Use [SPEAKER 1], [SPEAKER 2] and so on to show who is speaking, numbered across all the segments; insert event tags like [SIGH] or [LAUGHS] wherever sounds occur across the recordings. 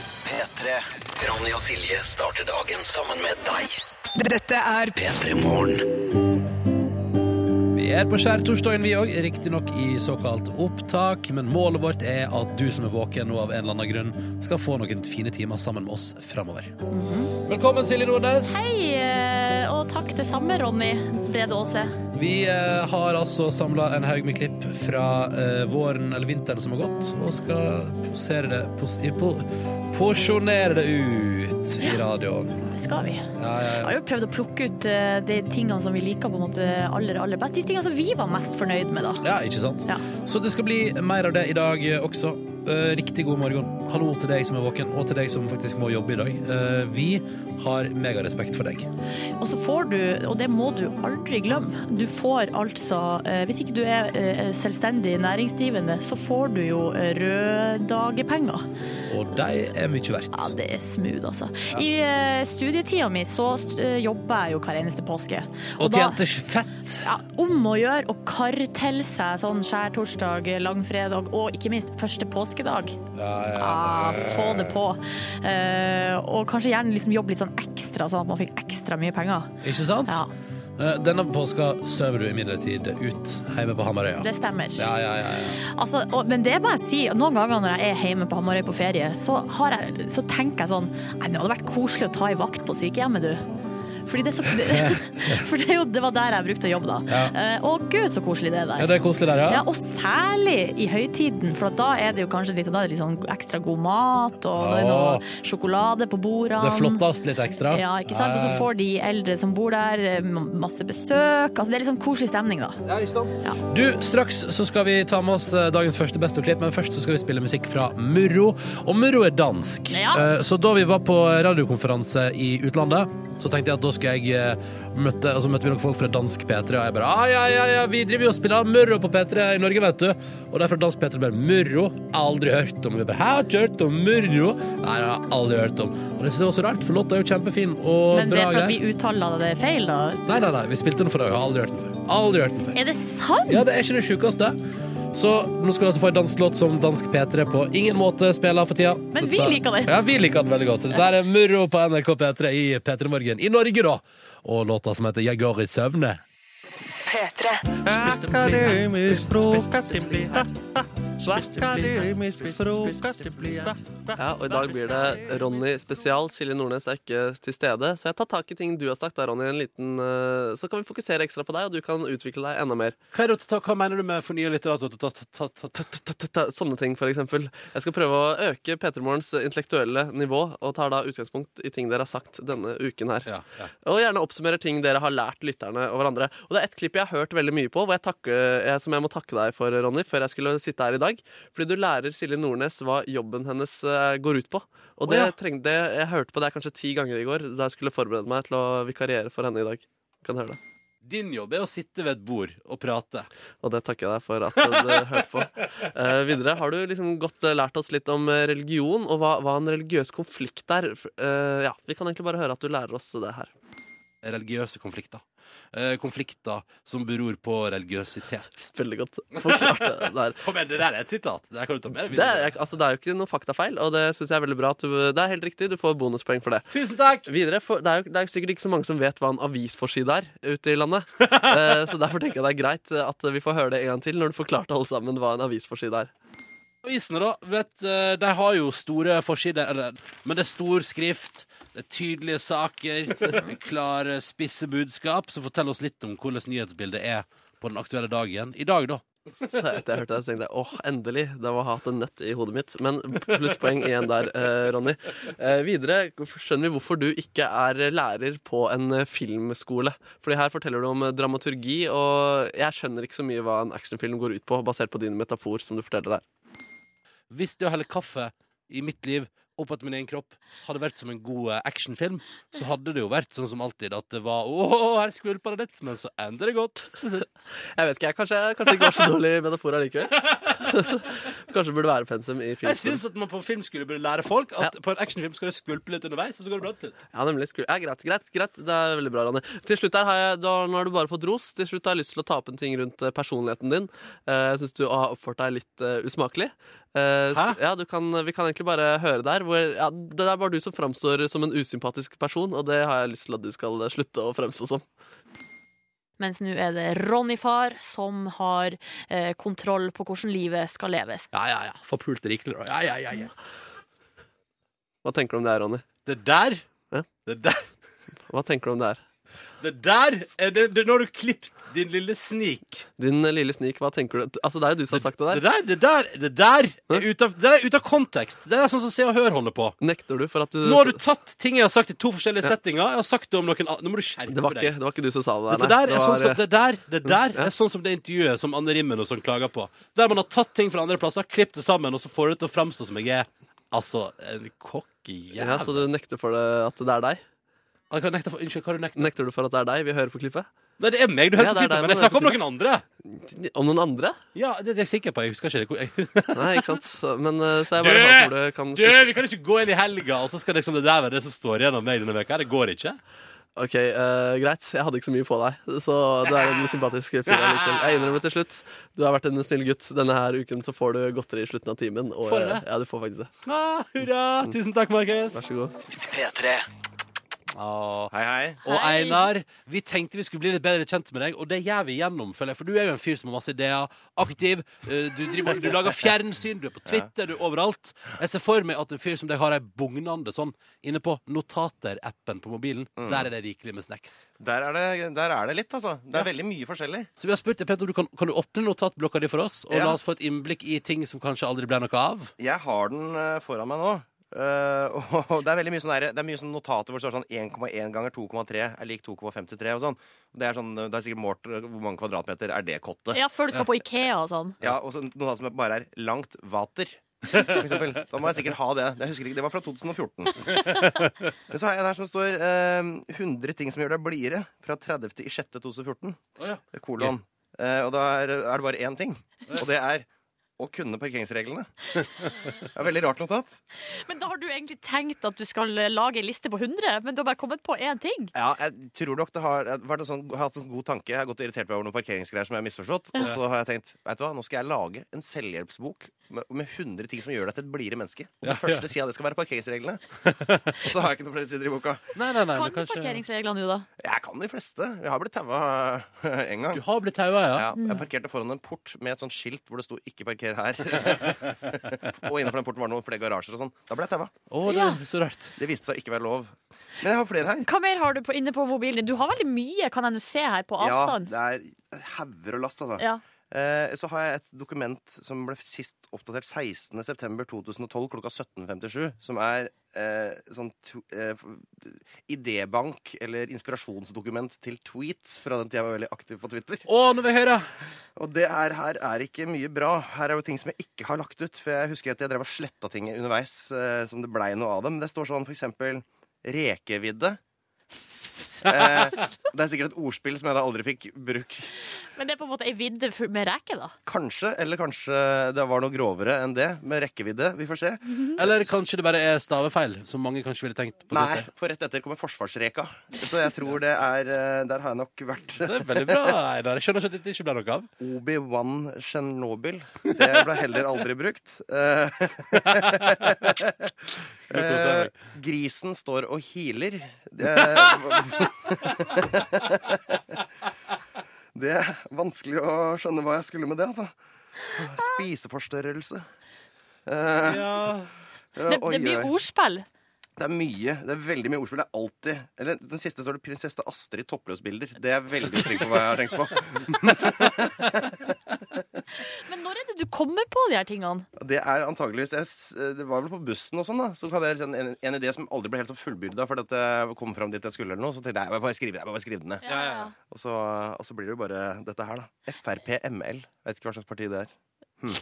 [SPEAKER 1] P3. Ronny og Silje starter dagen sammen med deg.
[SPEAKER 2] Dette er
[SPEAKER 1] P3 Morgen.
[SPEAKER 3] Vi er på skjærtorsdagen, vi òg, riktignok i såkalt opptak. Men målet vårt er at du som er våken nå av en eller annen grunn, skal få noen fine timer sammen med oss framover. Velkommen, Silje Nordnes.
[SPEAKER 4] Hei, eh, og takk det samme, Ronny Brede Aase.
[SPEAKER 3] Vi eh, har altså samla en haug med klipp fra eh, våren eller vinteren som har gått, og skal posere det pos i- po Porsjonere det ut i radioen.
[SPEAKER 4] Det skal vi. Jeg
[SPEAKER 3] Ja, ja, ja.
[SPEAKER 4] har jo prøvd å plukke ut eh, de tingene som vi liker på en måte aller, aller best. De tingene som vi var mest fornøyd med, da.
[SPEAKER 3] ja, ikke sant?
[SPEAKER 4] Ja.
[SPEAKER 3] Så det skal bli mer av det i dag eh, også. Eh, Riktig god morgen. Hallo til deg som er våken, og til deg som faktisk må jobbe i dag. Eh, Vi har megarespekt for deg.
[SPEAKER 4] Og så får du, og det må du aldri glemme, du får altså eh, Hvis ikke du er eh, selvstendig næringsdrivende, så får du jo eh, røddagepenger.
[SPEAKER 3] Og de er mye
[SPEAKER 4] Ja,
[SPEAKER 3] verdt.
[SPEAKER 4] det er smooth, altså. I eh, studietida mi så eh, jobber jeg jo hver eneste påske.
[SPEAKER 3] Og
[SPEAKER 4] da-
[SPEAKER 3] tjente fett.
[SPEAKER 4] ja, om å gjøre å karre til seg sånn skjærtorsdag, langfredag og ikke minst første påskedag. Ah, få det på. Eh, og kanskje gjerne liksom jobbe litt sånn ekstra, sånn at man fikk ekstra mye penger.
[SPEAKER 3] Ikke sant?
[SPEAKER 4] Ja.
[SPEAKER 3] Eh, Denne påska sover du imidlertid ut hjemme på Hamarøya.
[SPEAKER 4] Det stemmer.
[SPEAKER 3] Ja, ja, ja, ja.
[SPEAKER 4] Altså, og, men det må jeg si, noen ganger når jeg er hjemme på Hamarøy på ferie, så, har jeg, så tenker jeg sånn Nei, det hadde vært koselig å ta ei vakt på sykehjemmet, du. Fordi det er så,
[SPEAKER 3] [LAUGHS]
[SPEAKER 4] for det, [LAUGHS] er jo, det var der jeg brukte å jobbe, da.
[SPEAKER 3] Ja.
[SPEAKER 4] Eh, Å gud, så koselig det er der.
[SPEAKER 3] ja det er koselig der,
[SPEAKER 4] Ja,
[SPEAKER 3] ja.
[SPEAKER 4] og særlig i høytiden, for da er det jo kanskje litt, da er det litt sånn ekstra god mat, og det er noe
[SPEAKER 3] Åh.
[SPEAKER 4] sjokolade på bordene.
[SPEAKER 3] Det flottast litt ekstra.
[SPEAKER 4] Ja, ikke sant? Og så får de eldre som bor der, eh, masse besøk. Altså, det er litt sånn koselig stemning, da.
[SPEAKER 3] Du, straks så skal vi ta med oss eh, dagens første beste klipp, men først så skal vi spille musikk fra Murro. Og Murro er dansk,
[SPEAKER 4] Ja.
[SPEAKER 3] Eh, så da vi var på radiokonferanse i utlandet, så tenkte jeg at da skal jeg eh, møtte, altså møtte vi noen folk fra dansk P3, og jeg bare ah, ja, ja, ja, vi driver jo og spiller Murro på P3 i Norge, vet du. Og derfor dansk P3 bare Murro, aldri hørt om. Vi bare Hæ, har ikke hørt om Murro? Nei, jeg har aldri hørt om. Og det synes jeg var så rart, for låta er jo kjempefin og
[SPEAKER 4] Men det
[SPEAKER 3] bra
[SPEAKER 4] er for at
[SPEAKER 3] greier.
[SPEAKER 4] vi uttaler det feil, da.
[SPEAKER 3] Nei, nei, nei, vi spilte den for deg, jeg har aldri hørt den før. Aldri hørt den før.
[SPEAKER 4] Er det sant?
[SPEAKER 3] Ja, det er ikke det sjukeste. Så nå skal du altså få en dansk låt som dansk P3 på ingen måte spiller for tida.
[SPEAKER 4] Men vi
[SPEAKER 3] Dette-
[SPEAKER 4] liker den.
[SPEAKER 3] Ja, vi liker den veldig godt. Dette her er Murro på NRK P3 i P3 Morgen i Norge, da. Og låta som heter Jeg går i søvne.
[SPEAKER 2] P3.
[SPEAKER 5] Akademisk frokost Akademisk frokost
[SPEAKER 6] Ja, og I dag blir det Ronny spesial. Silje Nordnes er ikke til stede. Så jeg tar tak i ting du har sagt, da, Ronny. En liten, eh, så kan vi fokusere ekstra på deg, og du kan utvikle deg enda mer.
[SPEAKER 3] Hva, mener du med fornya litteratur?
[SPEAKER 6] Ta- Sånne ting, for eksempel. Jeg skal prøve å øke P3 Morgens intellektuelle nivå, og tar da utgangspunkt i ting dere har sagt denne uken her.
[SPEAKER 3] Ja, ja.
[SPEAKER 6] Og gjerne oppsummerer ting dere har lært lytterne og hverandre. Og det er ett klipp jeg har hørt veldig mye på, hvor jeg takke, jeg, som jeg må takke deg for, Ronny, før jeg skulle sitte her i dag. Fordi du lærer Silje Nordnes hva jobben hennes eh, går ut på. Og det
[SPEAKER 3] Å, ja.
[SPEAKER 6] trengte Jeg hørte på det kanskje ti ganger i går da jeg skulle forberede meg til å vikariere for henne i dag. Kan høre det.
[SPEAKER 3] Din jobb er å sitte ved et bord og prate.
[SPEAKER 6] Og det takker jeg deg for at du hørte på. Eh, videre, har du liksom godt eh, lært oss litt om eh, religion, og hva, hva en religiøs konflikt er? F- eh, ja, vi kan egentlig bare høre at du lærer oss det her.
[SPEAKER 3] Religiøse konflikter. Eh, Konflikter som beror på religiøsitet.
[SPEAKER 6] Veldig godt forklart det der.
[SPEAKER 3] Kom igjen, det der er et sitat. Det der kan du ta med deg
[SPEAKER 6] Det er,
[SPEAKER 3] videre.
[SPEAKER 6] altså, det er jo ikke noe faktafeil, og det synes jeg er veldig bra. At du, det er helt riktig, du får bonuspoeng for det.
[SPEAKER 3] Tusen takk!
[SPEAKER 6] Videre, for, det, er jo, det er jo sikkert ikke så mange som vet hva en avisforside er ute i landet. [LAUGHS] Eh, så derfor tenker jeg det er greit at vi får høre det en gang til når du forklarte alle sammen hva en avisforside er.
[SPEAKER 3] Avisene, da. Vet, eh, de har jo store forsider, eller, men det er stor skrift. Det er tydelige
[SPEAKER 6] [LAUGHS]
[SPEAKER 3] saker, klare, eh, spisse budskap. Så fortell oss litt om hvordan nyhetsbildet er på den aktuelle dagen. I dag, da.
[SPEAKER 6] [LAUGHS] Så etter jeg hørte det, så tenkte jeg åh, endelig. Det var hatt en nøtt i hodet mitt. Men plusspoeng igjen der, eh, Ronny. Eh, videre skjønner vi hvorfor du ikke er lærer på en eh, filmskole. Fordi her forteller du om eh, dramaturgi, og jeg skjønner ikke så mye hva en actionfilm går ut på, basert på din metafor som du forteller der.
[SPEAKER 3] Hvis det å helle kaffe i mitt liv opp etter min egen kropp hadde vært som en god eh, actionfilm, så hadde det jo vært sånn som alltid at det var åh, her skvulpa det litt, men så ender det godt. til slutt.
[SPEAKER 6] Jeg vet ikke, jeg kanskje, kanskje ikke var så dårlig metafor allikevel. [LAUGHS] kanskje burde være pensum i
[SPEAKER 3] Jeg
[SPEAKER 6] filmskolen.
[SPEAKER 3] syns at man på filmskole burde lære folk at på en actionfilm skal du skvulpe litt underveis, og så går det bra til slutt.
[SPEAKER 6] Ja, nemlig. Skru. Ja, greit, greit, greit. Det er veldig bra, Ronny. Til slutt her har jeg, da, Nå har du bare fått ros. Til slutt har jeg lyst til å ta opp en ting rundt eh, personligheten din. Eh, Jeg syns du har oppført deg litt eh, usmakelig. Eh, så,
[SPEAKER 7] Hæ?
[SPEAKER 6] ja, du kan, vi kan egentlig bare høre der. Hvor, ja, det er bare du som framstår som en usympatisk person, og det har jeg lyst til at du skal eh, slutte å fremstå som.
[SPEAKER 4] Mens nå er det Ronny far som har eh, kontroll på hvordan livet skal leves.
[SPEAKER 7] Ja, ja, ja. Forpulte rikelig, da. Ja, ja, ja, ja.
[SPEAKER 6] Hva tenker du om det her, Ronny?
[SPEAKER 3] Det der
[SPEAKER 6] Ja.
[SPEAKER 3] Det der,
[SPEAKER 6] Hva tenker du om det her?
[SPEAKER 3] det der er det, det, Nå har du klippet din lille snik.
[SPEAKER 6] Din eh, lille snik, hva tenker du? Altså, det er jo du som har sagt det
[SPEAKER 3] Det
[SPEAKER 6] der.
[SPEAKER 3] der, det der, det der
[SPEAKER 6] Hæ?
[SPEAKER 3] er ute av, det der er ute av kontekst. Det er sånn som Se og Hør holder på.
[SPEAKER 6] Nekter du for at du
[SPEAKER 3] Nå har du tatt ting jeg har sagt i to forskjellige settinger. Jeg har sagt det om noen an- Nå må du skjerpe
[SPEAKER 6] det var, ikke,
[SPEAKER 3] deg.
[SPEAKER 6] det var ikke du som sa det der.
[SPEAKER 3] Dette
[SPEAKER 6] nei.
[SPEAKER 3] der
[SPEAKER 6] var, Mm,
[SPEAKER 3] er sånn som det der, det der
[SPEAKER 6] Ja.
[SPEAKER 3] er sånn som det intervjuet som Anne Rimmen og sånn klager på. Der man har tatt ting fra andre plasser, klippet det sammen, og så får det til å framstå som jeg er altså en
[SPEAKER 6] ja,
[SPEAKER 3] kokkejævel.
[SPEAKER 6] Så du nekter for det, at det er deg?
[SPEAKER 3] Jeg kan nekte for- Unnskyld, hva har du nekta?
[SPEAKER 6] Nekter du for at det er deg? Vi hører på klippet.
[SPEAKER 3] Nei, det er meg du hører
[SPEAKER 6] Ja, det
[SPEAKER 3] på
[SPEAKER 6] er
[SPEAKER 3] klippet,
[SPEAKER 6] deg,
[SPEAKER 3] men jeg
[SPEAKER 6] men det er
[SPEAKER 3] snakker om noen andre.
[SPEAKER 6] Om noen andre?
[SPEAKER 3] Ja, det, det er jeg sikker på. Jeg husker ikke det. Jeg, [LAUGHS]
[SPEAKER 6] Nei, ikke sant? Så, men eh, så jeg
[SPEAKER 3] Du!
[SPEAKER 6] bare håper du kan
[SPEAKER 3] du, vi kan ikke gå inn i helga, og så skal liksom det der være det som står igjen av meg denne veka. Det går ikke.
[SPEAKER 6] Ok, eh, greit. Jeg hadde ikke så mye på deg, så du er en sympatisk fyr allikevel. Jeg innrømmer til slutt. Du har vært en snill gutt. Denne her uken så får du godteri i slutten av timen. Og,
[SPEAKER 3] Får
[SPEAKER 6] eh,
[SPEAKER 3] jeg det?
[SPEAKER 6] ja, du får faktisk det.
[SPEAKER 3] Ah, hurra!
[SPEAKER 6] Mm.
[SPEAKER 3] Tusen takk, Markus.
[SPEAKER 6] Vær så god.
[SPEAKER 8] P3.
[SPEAKER 3] Hei, hei. Og Einar, vi tenkte vi skulle bli litt bedre kjent med deg, og det gjør vi gjennom, føler jeg. For du er jo en fyr som har masse ideer, aktiv, eh, du, driver, du lager fjernsyn, du er på Twitter, du er overalt. Jeg ser for meg at en fyr som deg har ei bugnende sånn inne på notater-appen på mobilen. Der er det rikelig med snacks.
[SPEAKER 9] Mm. Der er det, der er det litt, altså. Det er veldig mye forskjellig.
[SPEAKER 3] Så vi har spurt deg, Petter, om du kan, kan du åpne notatblokka di for oss, og
[SPEAKER 9] Ja.
[SPEAKER 3] la oss få et innblikk i ting som kanskje aldri ble noe av?
[SPEAKER 9] Jeg har den eh, foran meg nå. Eh, [LAUGHS] og det er veldig mye sånn her- Det er mye sånn notater hvor det står sånn 1,1 ganger 2,3 er lik 2,53 og sånn. Det er sånn, det er sikkert målt eh, hvor mange kvadratmeter er det kottet.
[SPEAKER 4] Ja, før du skal på Ikea og sånn.
[SPEAKER 9] Ja, og så noe annet som bare er langt vater. For eksempel. Da må jeg sikkert ha det. Jeg husker ikke, Det var fra
[SPEAKER 3] [LAUGHS]
[SPEAKER 9] 2014. Men så har jeg en her som står eh, 100 ting som gjør deg blidere fra 30.06.2014.
[SPEAKER 3] Å ja.
[SPEAKER 9] Kolon. Eh, og da er, er det bare én ting, og det er å kunne parkeringsreglene. Det er veldig rart notat.
[SPEAKER 4] Men da har du egentlig tenkt at du skal eh, lage ei liste på 100, men du har bare kommet på én ting.
[SPEAKER 9] Ja, jeg tror nok det har vært en sånn, har hatt en god tanke. Jeg har gått og irritert meg over noen parkeringsgreier som jeg har misforstått. Og så har jeg tenkt vet du hva, nå skal jeg lage en selvhjelpsbok med, med 100 ting som gjør deg til et blidere menneske. Og det første sida av det skal være [LAUGHS] parkeringsreglene. og så har jeg ikke noen flere sider i boka.
[SPEAKER 3] Nei, nei, nei.
[SPEAKER 4] Kan
[SPEAKER 3] det
[SPEAKER 4] du parkeringsreglene nå, da?
[SPEAKER 9] Jeg kan de fleste. Jeg har blitt taua en gang.
[SPEAKER 3] Du har blitt taua, ja.
[SPEAKER 4] Mm.
[SPEAKER 9] Ja, jeg parkerte foran en port med et sånt skilt hvor det sto 'ikke parker
[SPEAKER 3] [LAUGHS]
[SPEAKER 9] her'. og innenfor den porten var det noen flere garasjer og sånn. Da ble jeg taua.
[SPEAKER 3] Å, det er så rart.
[SPEAKER 9] Det viste seg å ikke være lov. Men jeg har flere her.
[SPEAKER 4] Hva mer har du på, inne på mobilen din? Du har veldig mye, kan jeg nå se her, på
[SPEAKER 9] Ja,
[SPEAKER 4] avstand.
[SPEAKER 9] det er hauger og lass, altså.
[SPEAKER 4] Ja.
[SPEAKER 9] Eh, Så har jeg et dokument som ble sist oppdatert 16.9.2012 klokka 17.57, som er eh, sånn tw- eh, f- idébank eller inspirasjonsdokument til tweets fra den tida jeg var veldig aktiv på Twitter.
[SPEAKER 3] Å, nå vil jeg høre!
[SPEAKER 9] Og det er, her er ikke mye bra. Her er jo ting som jeg ikke har lagt ut. For jeg husker at jeg drev og sletta ting underveis eh, som det blei noe av dem. Det står sånn for eksempel
[SPEAKER 3] [LAUGHS]
[SPEAKER 9] rekevidde. Eh, det er sikkert et ordspill som jeg da aldri fikk brukt.
[SPEAKER 4] Men det er på en måte ei vidde full- med reke, da.
[SPEAKER 9] Kanskje, eller kanskje det var noe grovere enn det, med rekkevidde. Vi får se.
[SPEAKER 3] Eller kanskje det bare er stavefeil, som mange kanskje ville tenkt på.
[SPEAKER 9] Nei,
[SPEAKER 3] Twitter.
[SPEAKER 9] for rett etter kommer forsvarsreka. Så jeg tror det er eh, Der har jeg nok vært.
[SPEAKER 3] Det er veldig bra, Einar. Jeg skjønner ikke at dette ikke ble noe av.
[SPEAKER 9] Obi-Wan
[SPEAKER 3] [LAUGHS]
[SPEAKER 9] Chernobyl. [LAUGHS] Det ble heller aldri brukt. [LAUGHS] Eh, eh, grisen står og hiler. Det, [LAUGHS] det er vanskelig å skjønne hva jeg skulle med det, altså. Spiseforstørrelse. Eh, eh,
[SPEAKER 4] Det,
[SPEAKER 9] oi,
[SPEAKER 4] det blir
[SPEAKER 9] oi.
[SPEAKER 4] ordspill.
[SPEAKER 9] Det er mye. Det er veldig mye ordspill. Det er alltid Eller den siste står det 'Prinsesse Astrid toppløsbilder'. Det er jeg veldig usikker på hva jeg har tenkt på. [LAUGHS]
[SPEAKER 4] Men når er det du kommer på de her tingene?
[SPEAKER 9] Det er antageligvis jeg, s- Det var vel på bussen og sånn, da. Så hadde jeg sånn en, en idé som aldri ble helt sånn fullbyrda fordi at jeg kom fram dit jeg skulle, eller noe. Så tenkte jeg jeg må bare skrive det, jeg må bare skrive den ned.
[SPEAKER 4] Ja, ja.
[SPEAKER 9] Og, så, og så blir det jo bare dette her, da. Frp ML. Vet ikke hva slags parti det er. Hm.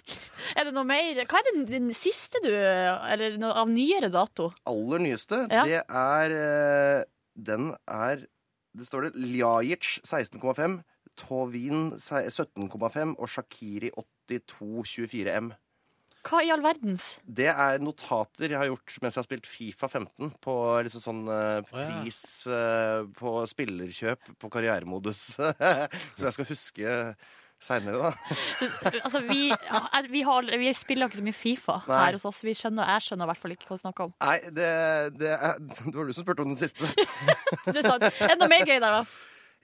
[SPEAKER 4] Er det noe mer? Hva er den, den siste du Eller noe av nyere dato?
[SPEAKER 9] Aller nyeste,
[SPEAKER 4] Ja.
[SPEAKER 9] det er eh, Den er Det står det Ljajic 16,5, Tovin se- 17,5 og Shakiri 82,24M.
[SPEAKER 4] Hva i all verdens?
[SPEAKER 9] Det er notater jeg har gjort mens jeg har spilt Fifa 15 på liksom sånn eh,
[SPEAKER 3] ja.
[SPEAKER 9] pris [LAUGHS] eh, på spillerkjøp på karrieremodus. Som jeg skal huske seinere, da.
[SPEAKER 4] Altså, vi, ja, vi, har, vi spiller ikke så mye Fifa
[SPEAKER 9] Nei.
[SPEAKER 4] her hos oss. Vi skjønner, jeg skjønner i hvert fall ikke hva du snakker om.
[SPEAKER 9] Nei, det, det, er, [LAUGHS] det var du som spurte om den siste.
[SPEAKER 4] Det er sant. Enda mer gøy der, da.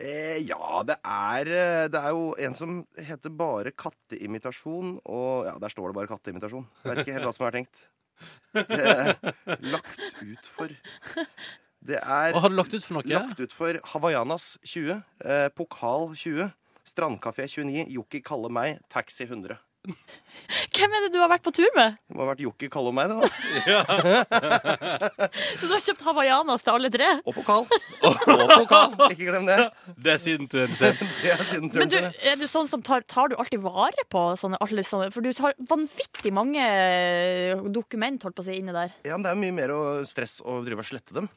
[SPEAKER 9] Eh, ja, det er, eh, det er jo en som heter bare katteimitasjon, og ja, der står det bare katteimitasjon. Jeg vet ikke helt hva som er tenkt. Det er lagt ut for Det er
[SPEAKER 3] Og har du lagt ut for noe?
[SPEAKER 9] lagt ut for Havajanas 20, eh, Pokal 20, Strandkafé 29, Jockey kaller meg, Taxi 100.
[SPEAKER 4] Hvem er det du har vært på tur med?
[SPEAKER 9] Det må ha vært Jockey kaller meg, det, da.
[SPEAKER 3] [LAUGHS]
[SPEAKER 4] Så du har kjøpt hawaiianas til alle tre?
[SPEAKER 9] Og pokal. Og pokal. Ikke glem det.
[SPEAKER 3] [LAUGHS] Det er siden turen sin.
[SPEAKER 9] [LAUGHS] Det er siden
[SPEAKER 4] Men
[SPEAKER 9] turen
[SPEAKER 4] du,
[SPEAKER 9] til det.
[SPEAKER 4] er du sånn som tar, tar du alltid vare på sånne, alle sånne For du har vanvittig mange eh, dokument holdt på å si inni der.
[SPEAKER 9] Ja, men det er mye mer å- stress å drive og slette dem.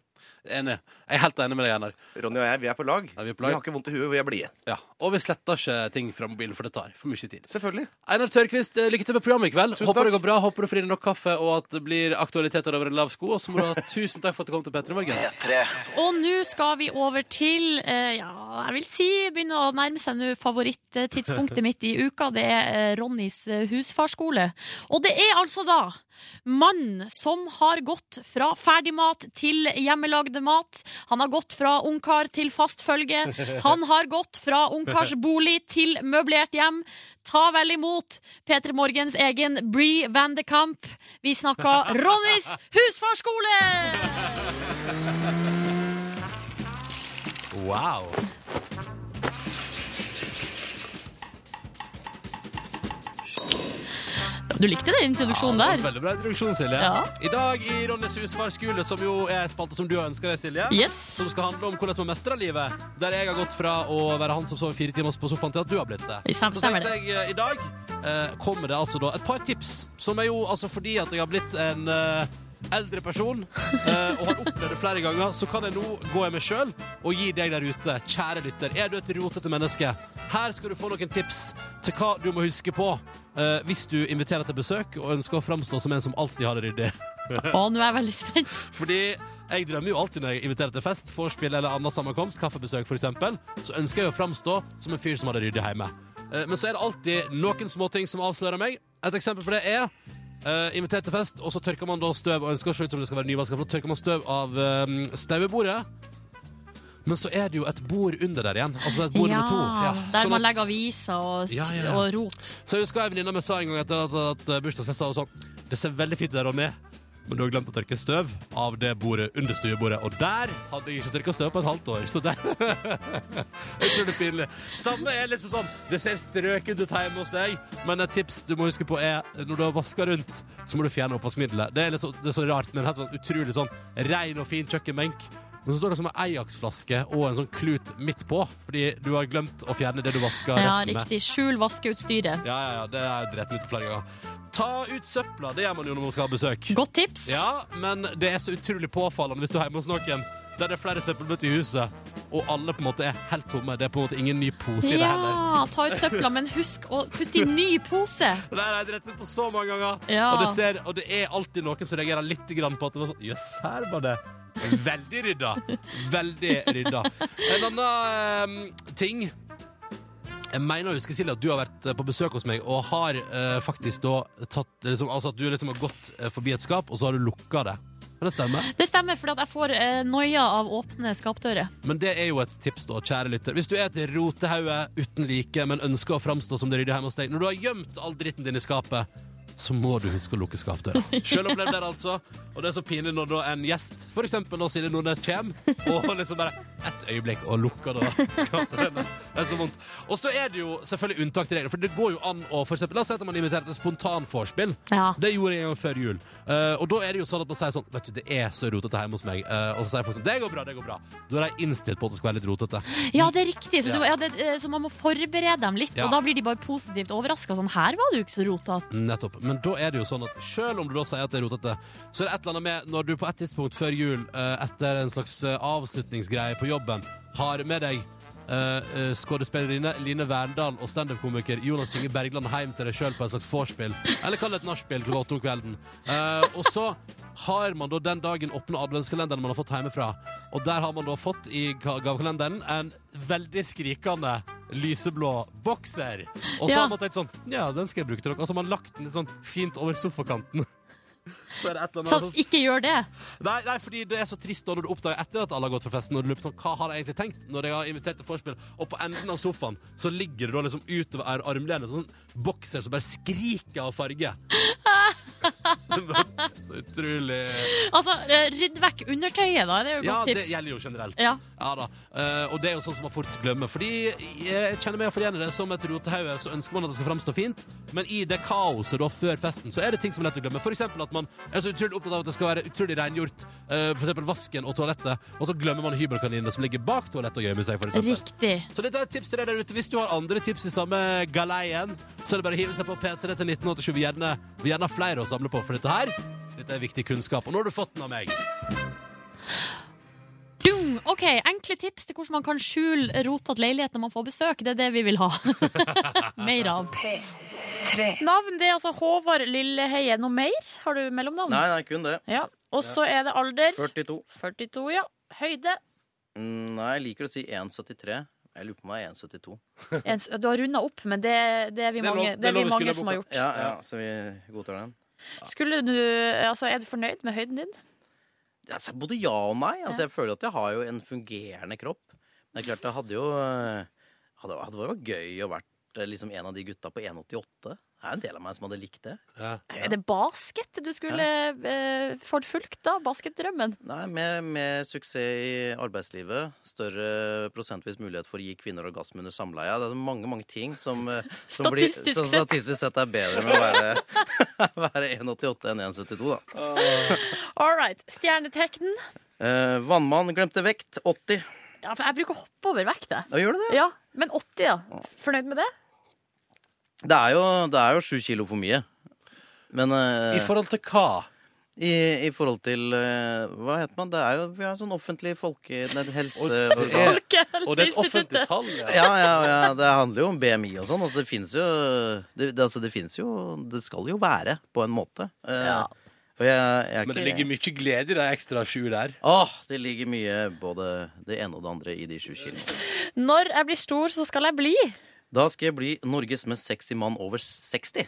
[SPEAKER 3] Enig. Jeg er helt enig med deg, Einar.
[SPEAKER 9] Ronny og jeg, vi er på lag.
[SPEAKER 3] Ja, vi er på
[SPEAKER 9] Vi
[SPEAKER 3] lag.
[SPEAKER 9] har ikke vondt i huet, vi er blide.
[SPEAKER 3] Ja. Og vi sletter ikke ting fra mobilen, for det tar for mye tid.
[SPEAKER 9] Selvfølgelig.
[SPEAKER 3] Einar Tørkvist, eh, lykke til med programmet i kveld. håper
[SPEAKER 9] takk.
[SPEAKER 3] det går bra, håper du får i deg nok kaffe, og at det blir aktualiteter over en lav sko. Og
[SPEAKER 9] [LAUGHS]
[SPEAKER 3] så må du ha tusen takk for at du kom til P3 Morgen.
[SPEAKER 4] Og nå skal vi over til eh, Ja, jeg vil si begynner å nærme seg nå favorittidspunktet mitt i uka. Det er eh, Ronnys eh, husfarskole. Og det er altså da mannen som har gått fra ferdigmat til hjemmelagde mat. Han har gått fra ungkar til fast følge. Han har gått fra ungkars bolig til møblert hjem. Ta vel imot P3 Morgens egen Bree Van de Kamp. Vi snakker Ronnys husfarskole!
[SPEAKER 3] Wow.
[SPEAKER 4] Du likte den introduksjonen der?
[SPEAKER 3] Veldig bra introduksjon, Silje.
[SPEAKER 4] Ja.
[SPEAKER 3] I dag i Ronnys husfarskole, som jo er en spalte som du har ønska deg, Silje.
[SPEAKER 4] Yes.
[SPEAKER 3] Som skal handle om hvordan man mestrer livet. Der jeg har gått fra å være han som sover fire timer på sofaen, til at du har blitt det.
[SPEAKER 4] Stem-
[SPEAKER 3] Så
[SPEAKER 4] stemmer
[SPEAKER 3] tenkte jeg eh, i dag eh, kommer det altså da et par tips, som er jo altså fordi at jeg har blitt en eh, eldre person eh, og har opplevd det flere ganger, så kan jeg nå gå i meg sjøl og gi deg der ute, kjære lytter, er du et rotete menneske, her skal du få noen tips til hva du må huske på eh, hvis du inviterer til besøk og ønsker å framstå som en som alltid har det ryddig.
[SPEAKER 4] [LAUGHS] Å, nå er jeg veldig spent.
[SPEAKER 3] Fordi jeg drømmer jo alltid når jeg inviterer til fest, vorspiel eller annen sammenkomst, kaffebesøk f.eks., så ønsker jeg å framstå som en fyr som hadde ryddig hjemme. Eh, Men så er det alltid noen småting som avslører meg. Et eksempel på det er eh, invitert til fest, og så tørker man da støv og ønsker å se ut som det skal være nyvaska, for da tørker man støv av um, stauebordet. Men så er det jo et bord under der igjen. Altså et bord med to. Ja,
[SPEAKER 4] Der
[SPEAKER 3] sånn
[SPEAKER 4] man
[SPEAKER 3] at-
[SPEAKER 4] legger aviser og,
[SPEAKER 3] Ja, ja, ja.
[SPEAKER 4] og rot.
[SPEAKER 3] så jeg husker en venninne av meg sa en gang etter at, at, at bursdagsfesta og sånn Det ser veldig fint ut der, Ronny, men du har glemt å tørke støv av det bordet under stuebordet. Og der hadde jeg ikke tørka støv på et halvt år, så der [LAUGHS] Utrolig pinlig. Samme er liksom sånn Det ser strøket ut hjemme hos deg, men et tips du må huske på, er når du har vaska rundt, så må du fjerne oppvaskmiddelet. Det er, liksom, det er så rart, men helt sånn utrolig sånn rein og fin kjøkkenbenk. Men så står det som en Ajax-flaske og en sånn klut midt på, fordi du har glemt å fjerne det du vaska
[SPEAKER 4] Ja,
[SPEAKER 3] resten med.
[SPEAKER 4] riktig. Skjul vaskeutstyret.
[SPEAKER 3] Ja, ja, ja, det er jeg drept ut flere ganger. Ta ut søpla, det gjør man jo når man skal ha besøk.
[SPEAKER 4] Godt tips.
[SPEAKER 3] Ja, men det er så utrolig påfallende hvis du er hjemme hos noen der det er flere søppelbøtter i huset, og alle på en måte er helt tomme. Det er på en måte ingen ny pose i det heller.
[SPEAKER 4] Ja, ta ut søpla, men husk å putte i ny pose.
[SPEAKER 3] Det har jeg drept ut på så mange ganger.
[SPEAKER 4] Ja.
[SPEAKER 3] Og, det ser, og det er alltid noen som reagerer litt grann på at det var sånn Jøss, her var det veldig rydda. Veldig rydda. En annen eh, ting jeg mener å huske, Silje, at du har vært eh, på besøk hos meg og har eh, faktisk da tatt liksom, Altså at du liksom har gått eh, forbi et skap, og så har du lukka det. Kan det stemme?
[SPEAKER 4] Det stemmer, for at jeg får eh, noia av åpne skapdører.
[SPEAKER 3] Men det er jo et tips, da, kjære lytter. Hvis du er et rotehauge uten like, men ønsker å framstå som det ryddige hjemme hos deg, når du har gjemt all dritten din i skapet, så må du huske å lukke skapdøra. Sjøl opplevd det, altså. Og det er så pinlig når da en gjest, f.eks. når Silje Nordnes, kommer, og [LAUGHS] liksom bare ett øyeblikk og lukker da skapdøra. Det er så vondt. Og så er det jo selvfølgelig unntak til regler, for det går jo an å for eksempel, La oss si at man inviterer til spontanvorspill.
[SPEAKER 4] Ja.
[SPEAKER 3] Det gjorde jeg en gang før jul. Eh, og da er det jo sånn at man sier sånn Vet du, det er så rotete hjemme hos meg. Eh, og så sier folk sånn Det går bra, det går bra. Da er de innstilt på at det skal være litt rotete.
[SPEAKER 4] Ja, det er riktig, så, du,
[SPEAKER 3] Ja.
[SPEAKER 4] ja, det, eh, så man må forberede dem litt.
[SPEAKER 3] Ja.
[SPEAKER 4] Og da blir de bare positivt overraska. Sånn, her var det jo ikke så rotete.
[SPEAKER 3] Nettopp. Men da er det jo sånn at selv om du da sier at det er rotete, så er det et eller annet med når du på et tidspunkt før jul, eh, etter en slags eh, avslutningsgreie på jobben, har med deg eh, eh, skuespillerinne Line Verndal og standup-komiker Jonas Tynge Bergland hjem til deg sjøl på et slags vorspiel, eller kall det et nachspiel klokka åtte om kvelden. Eh, og så har man da den dagen åpna adventskalenderen man har fått hjemmefra, og der har man da fått i ga- gavekalenderen en veldig skrikende lyseblå bokser. Og så
[SPEAKER 4] Ja.
[SPEAKER 3] har man tenkt sånn Ja, den skal jeg bruke til noe. Og så har man lagt den litt sånn fint over sofakanten. Så er det et eller annet
[SPEAKER 4] Sånn, ikke gjør det!
[SPEAKER 3] Nei, nei, fordi det er så trist da når du oppdager etter at alle har gått for festen, og du lurer på sånn, hva har jeg egentlig tenkt når jeg har invitert til vorspiel, og på enden av sofaen så ligger det da liksom utover ar- armlenet sånn bokser som bare skriker av
[SPEAKER 4] [LAUGHS]
[SPEAKER 3] farge. så utrolig
[SPEAKER 4] Altså, eh, rydd vekk undertøyet, da. Det er jo et
[SPEAKER 3] Ja,
[SPEAKER 4] godt
[SPEAKER 3] det
[SPEAKER 4] tips.
[SPEAKER 3] gjelder jo generelt.
[SPEAKER 4] Ja.
[SPEAKER 3] da. Eh, og det er jo sånn som man fort glemmer. Fordi jeg kjenner meg igjen i det som et rotehauge, så ønsker man at det skal framstå fint, men i det kaoset da før festen, så er det ting som er lett å glemme. For eksempel at man er så utrolig opptatt av at det skal være utrolig rengjort. eh, for eksempel vasken og toalettet, og så glemmer man hybelkaninene som ligger bak toalettet og gjemmer seg, for eksempel.
[SPEAKER 4] Riktig.
[SPEAKER 3] Så dette er et tips til deg der ute. Hvis du har andre tips i samme Eh, galeien, så er det bare å hive seg på P3 til 1987. Vi gjerne, vi gjerne har flere å samle på for dette her. Dette er viktig kunnskap, og nå har du fått den av meg.
[SPEAKER 4] Dung! Ok, Enkle tips til hvordan man kan skjule rotete leilighet når man får besøk. Det er det vi vil ha. [LAUGHS] mer av.
[SPEAKER 2] P3.
[SPEAKER 4] Navn det er altså Håvard Lilleheie. Noe mer? Har du mellomnavn?
[SPEAKER 1] Nei, nei, kun det.
[SPEAKER 4] Ja. Og så er det alder.
[SPEAKER 1] 42.
[SPEAKER 4] 42, ja. Høyde.
[SPEAKER 1] Mm, Nei, jeg liker å si 1,73. Jeg lurer på om jeg er 1,72.
[SPEAKER 4] En, du har runda opp, men det, det er vi
[SPEAKER 3] Det er lov-
[SPEAKER 4] mange,
[SPEAKER 3] det er
[SPEAKER 4] det er vi
[SPEAKER 3] lov i
[SPEAKER 4] mange
[SPEAKER 3] skulderboka.
[SPEAKER 4] som har gjort.
[SPEAKER 1] Ja, ja, så vi godtar den.
[SPEAKER 4] Skulle du, altså, er du fornøyd med høyden din?
[SPEAKER 1] Altså, både ja og nei. Altså, jeg føler at jeg har jo en fungerende kropp. Men det er klart, det hadde jo eh, hadde, hadde vært gøy å vært eh, liksom, en av de gutta på 1,88. Det er jo en del av meg som hadde likt det. Ja.
[SPEAKER 4] Er det basket du skulle eh, forfulgt, da? Basketdrømmen?
[SPEAKER 1] Nei, med, med suksess i arbeidslivet, større prosentvis mulighet for å gi kvinner orgasme under samleie. Det er mange mange ting som, eh, som, blir,
[SPEAKER 4] Statistisk
[SPEAKER 1] som
[SPEAKER 4] sett.
[SPEAKER 1] statistisk sett er bedre med å være, være [LAUGHS] 1,88 enn 1,72, da.
[SPEAKER 4] [LAUGHS] All right. Stjernetekten.
[SPEAKER 1] Eh, vannmann glemte vekt. 80.
[SPEAKER 4] Ja, for jeg bruker å hoppe over vekk, det.
[SPEAKER 1] Da gjør du det.
[SPEAKER 4] Ja, men 80, ja. Fornøyd med det?
[SPEAKER 1] Det er jo, det er jo sju kilo for mye. Men eh,
[SPEAKER 3] I forhold til hva?
[SPEAKER 1] i, i forhold til eh, Hva heter man? Det er jo vi har sånn offentlig folke... Nei,
[SPEAKER 3] er-
[SPEAKER 1] [LAUGHS] helseorgan.
[SPEAKER 3] Og det er et offentlig
[SPEAKER 4] Folkehelseinstituttet.
[SPEAKER 3] tall. Ja.
[SPEAKER 1] Ja, ja, ja, det handler jo om BMI og sånn. Altså, det fins jo det, det, altså, det finnes jo Det skal jo være, på en måte. Eh,
[SPEAKER 4] Ja.
[SPEAKER 1] Og jeg, jeg er
[SPEAKER 3] Men det
[SPEAKER 1] ikke-
[SPEAKER 3] ligger mye glede i de ekstra sju der.
[SPEAKER 1] Åh, det ligger mye både det ene og det andre i de sju kiloene.
[SPEAKER 4] Når jeg blir stor, så skal jeg bli.
[SPEAKER 1] Da skal jeg bli Norges mest sexy mann over 60.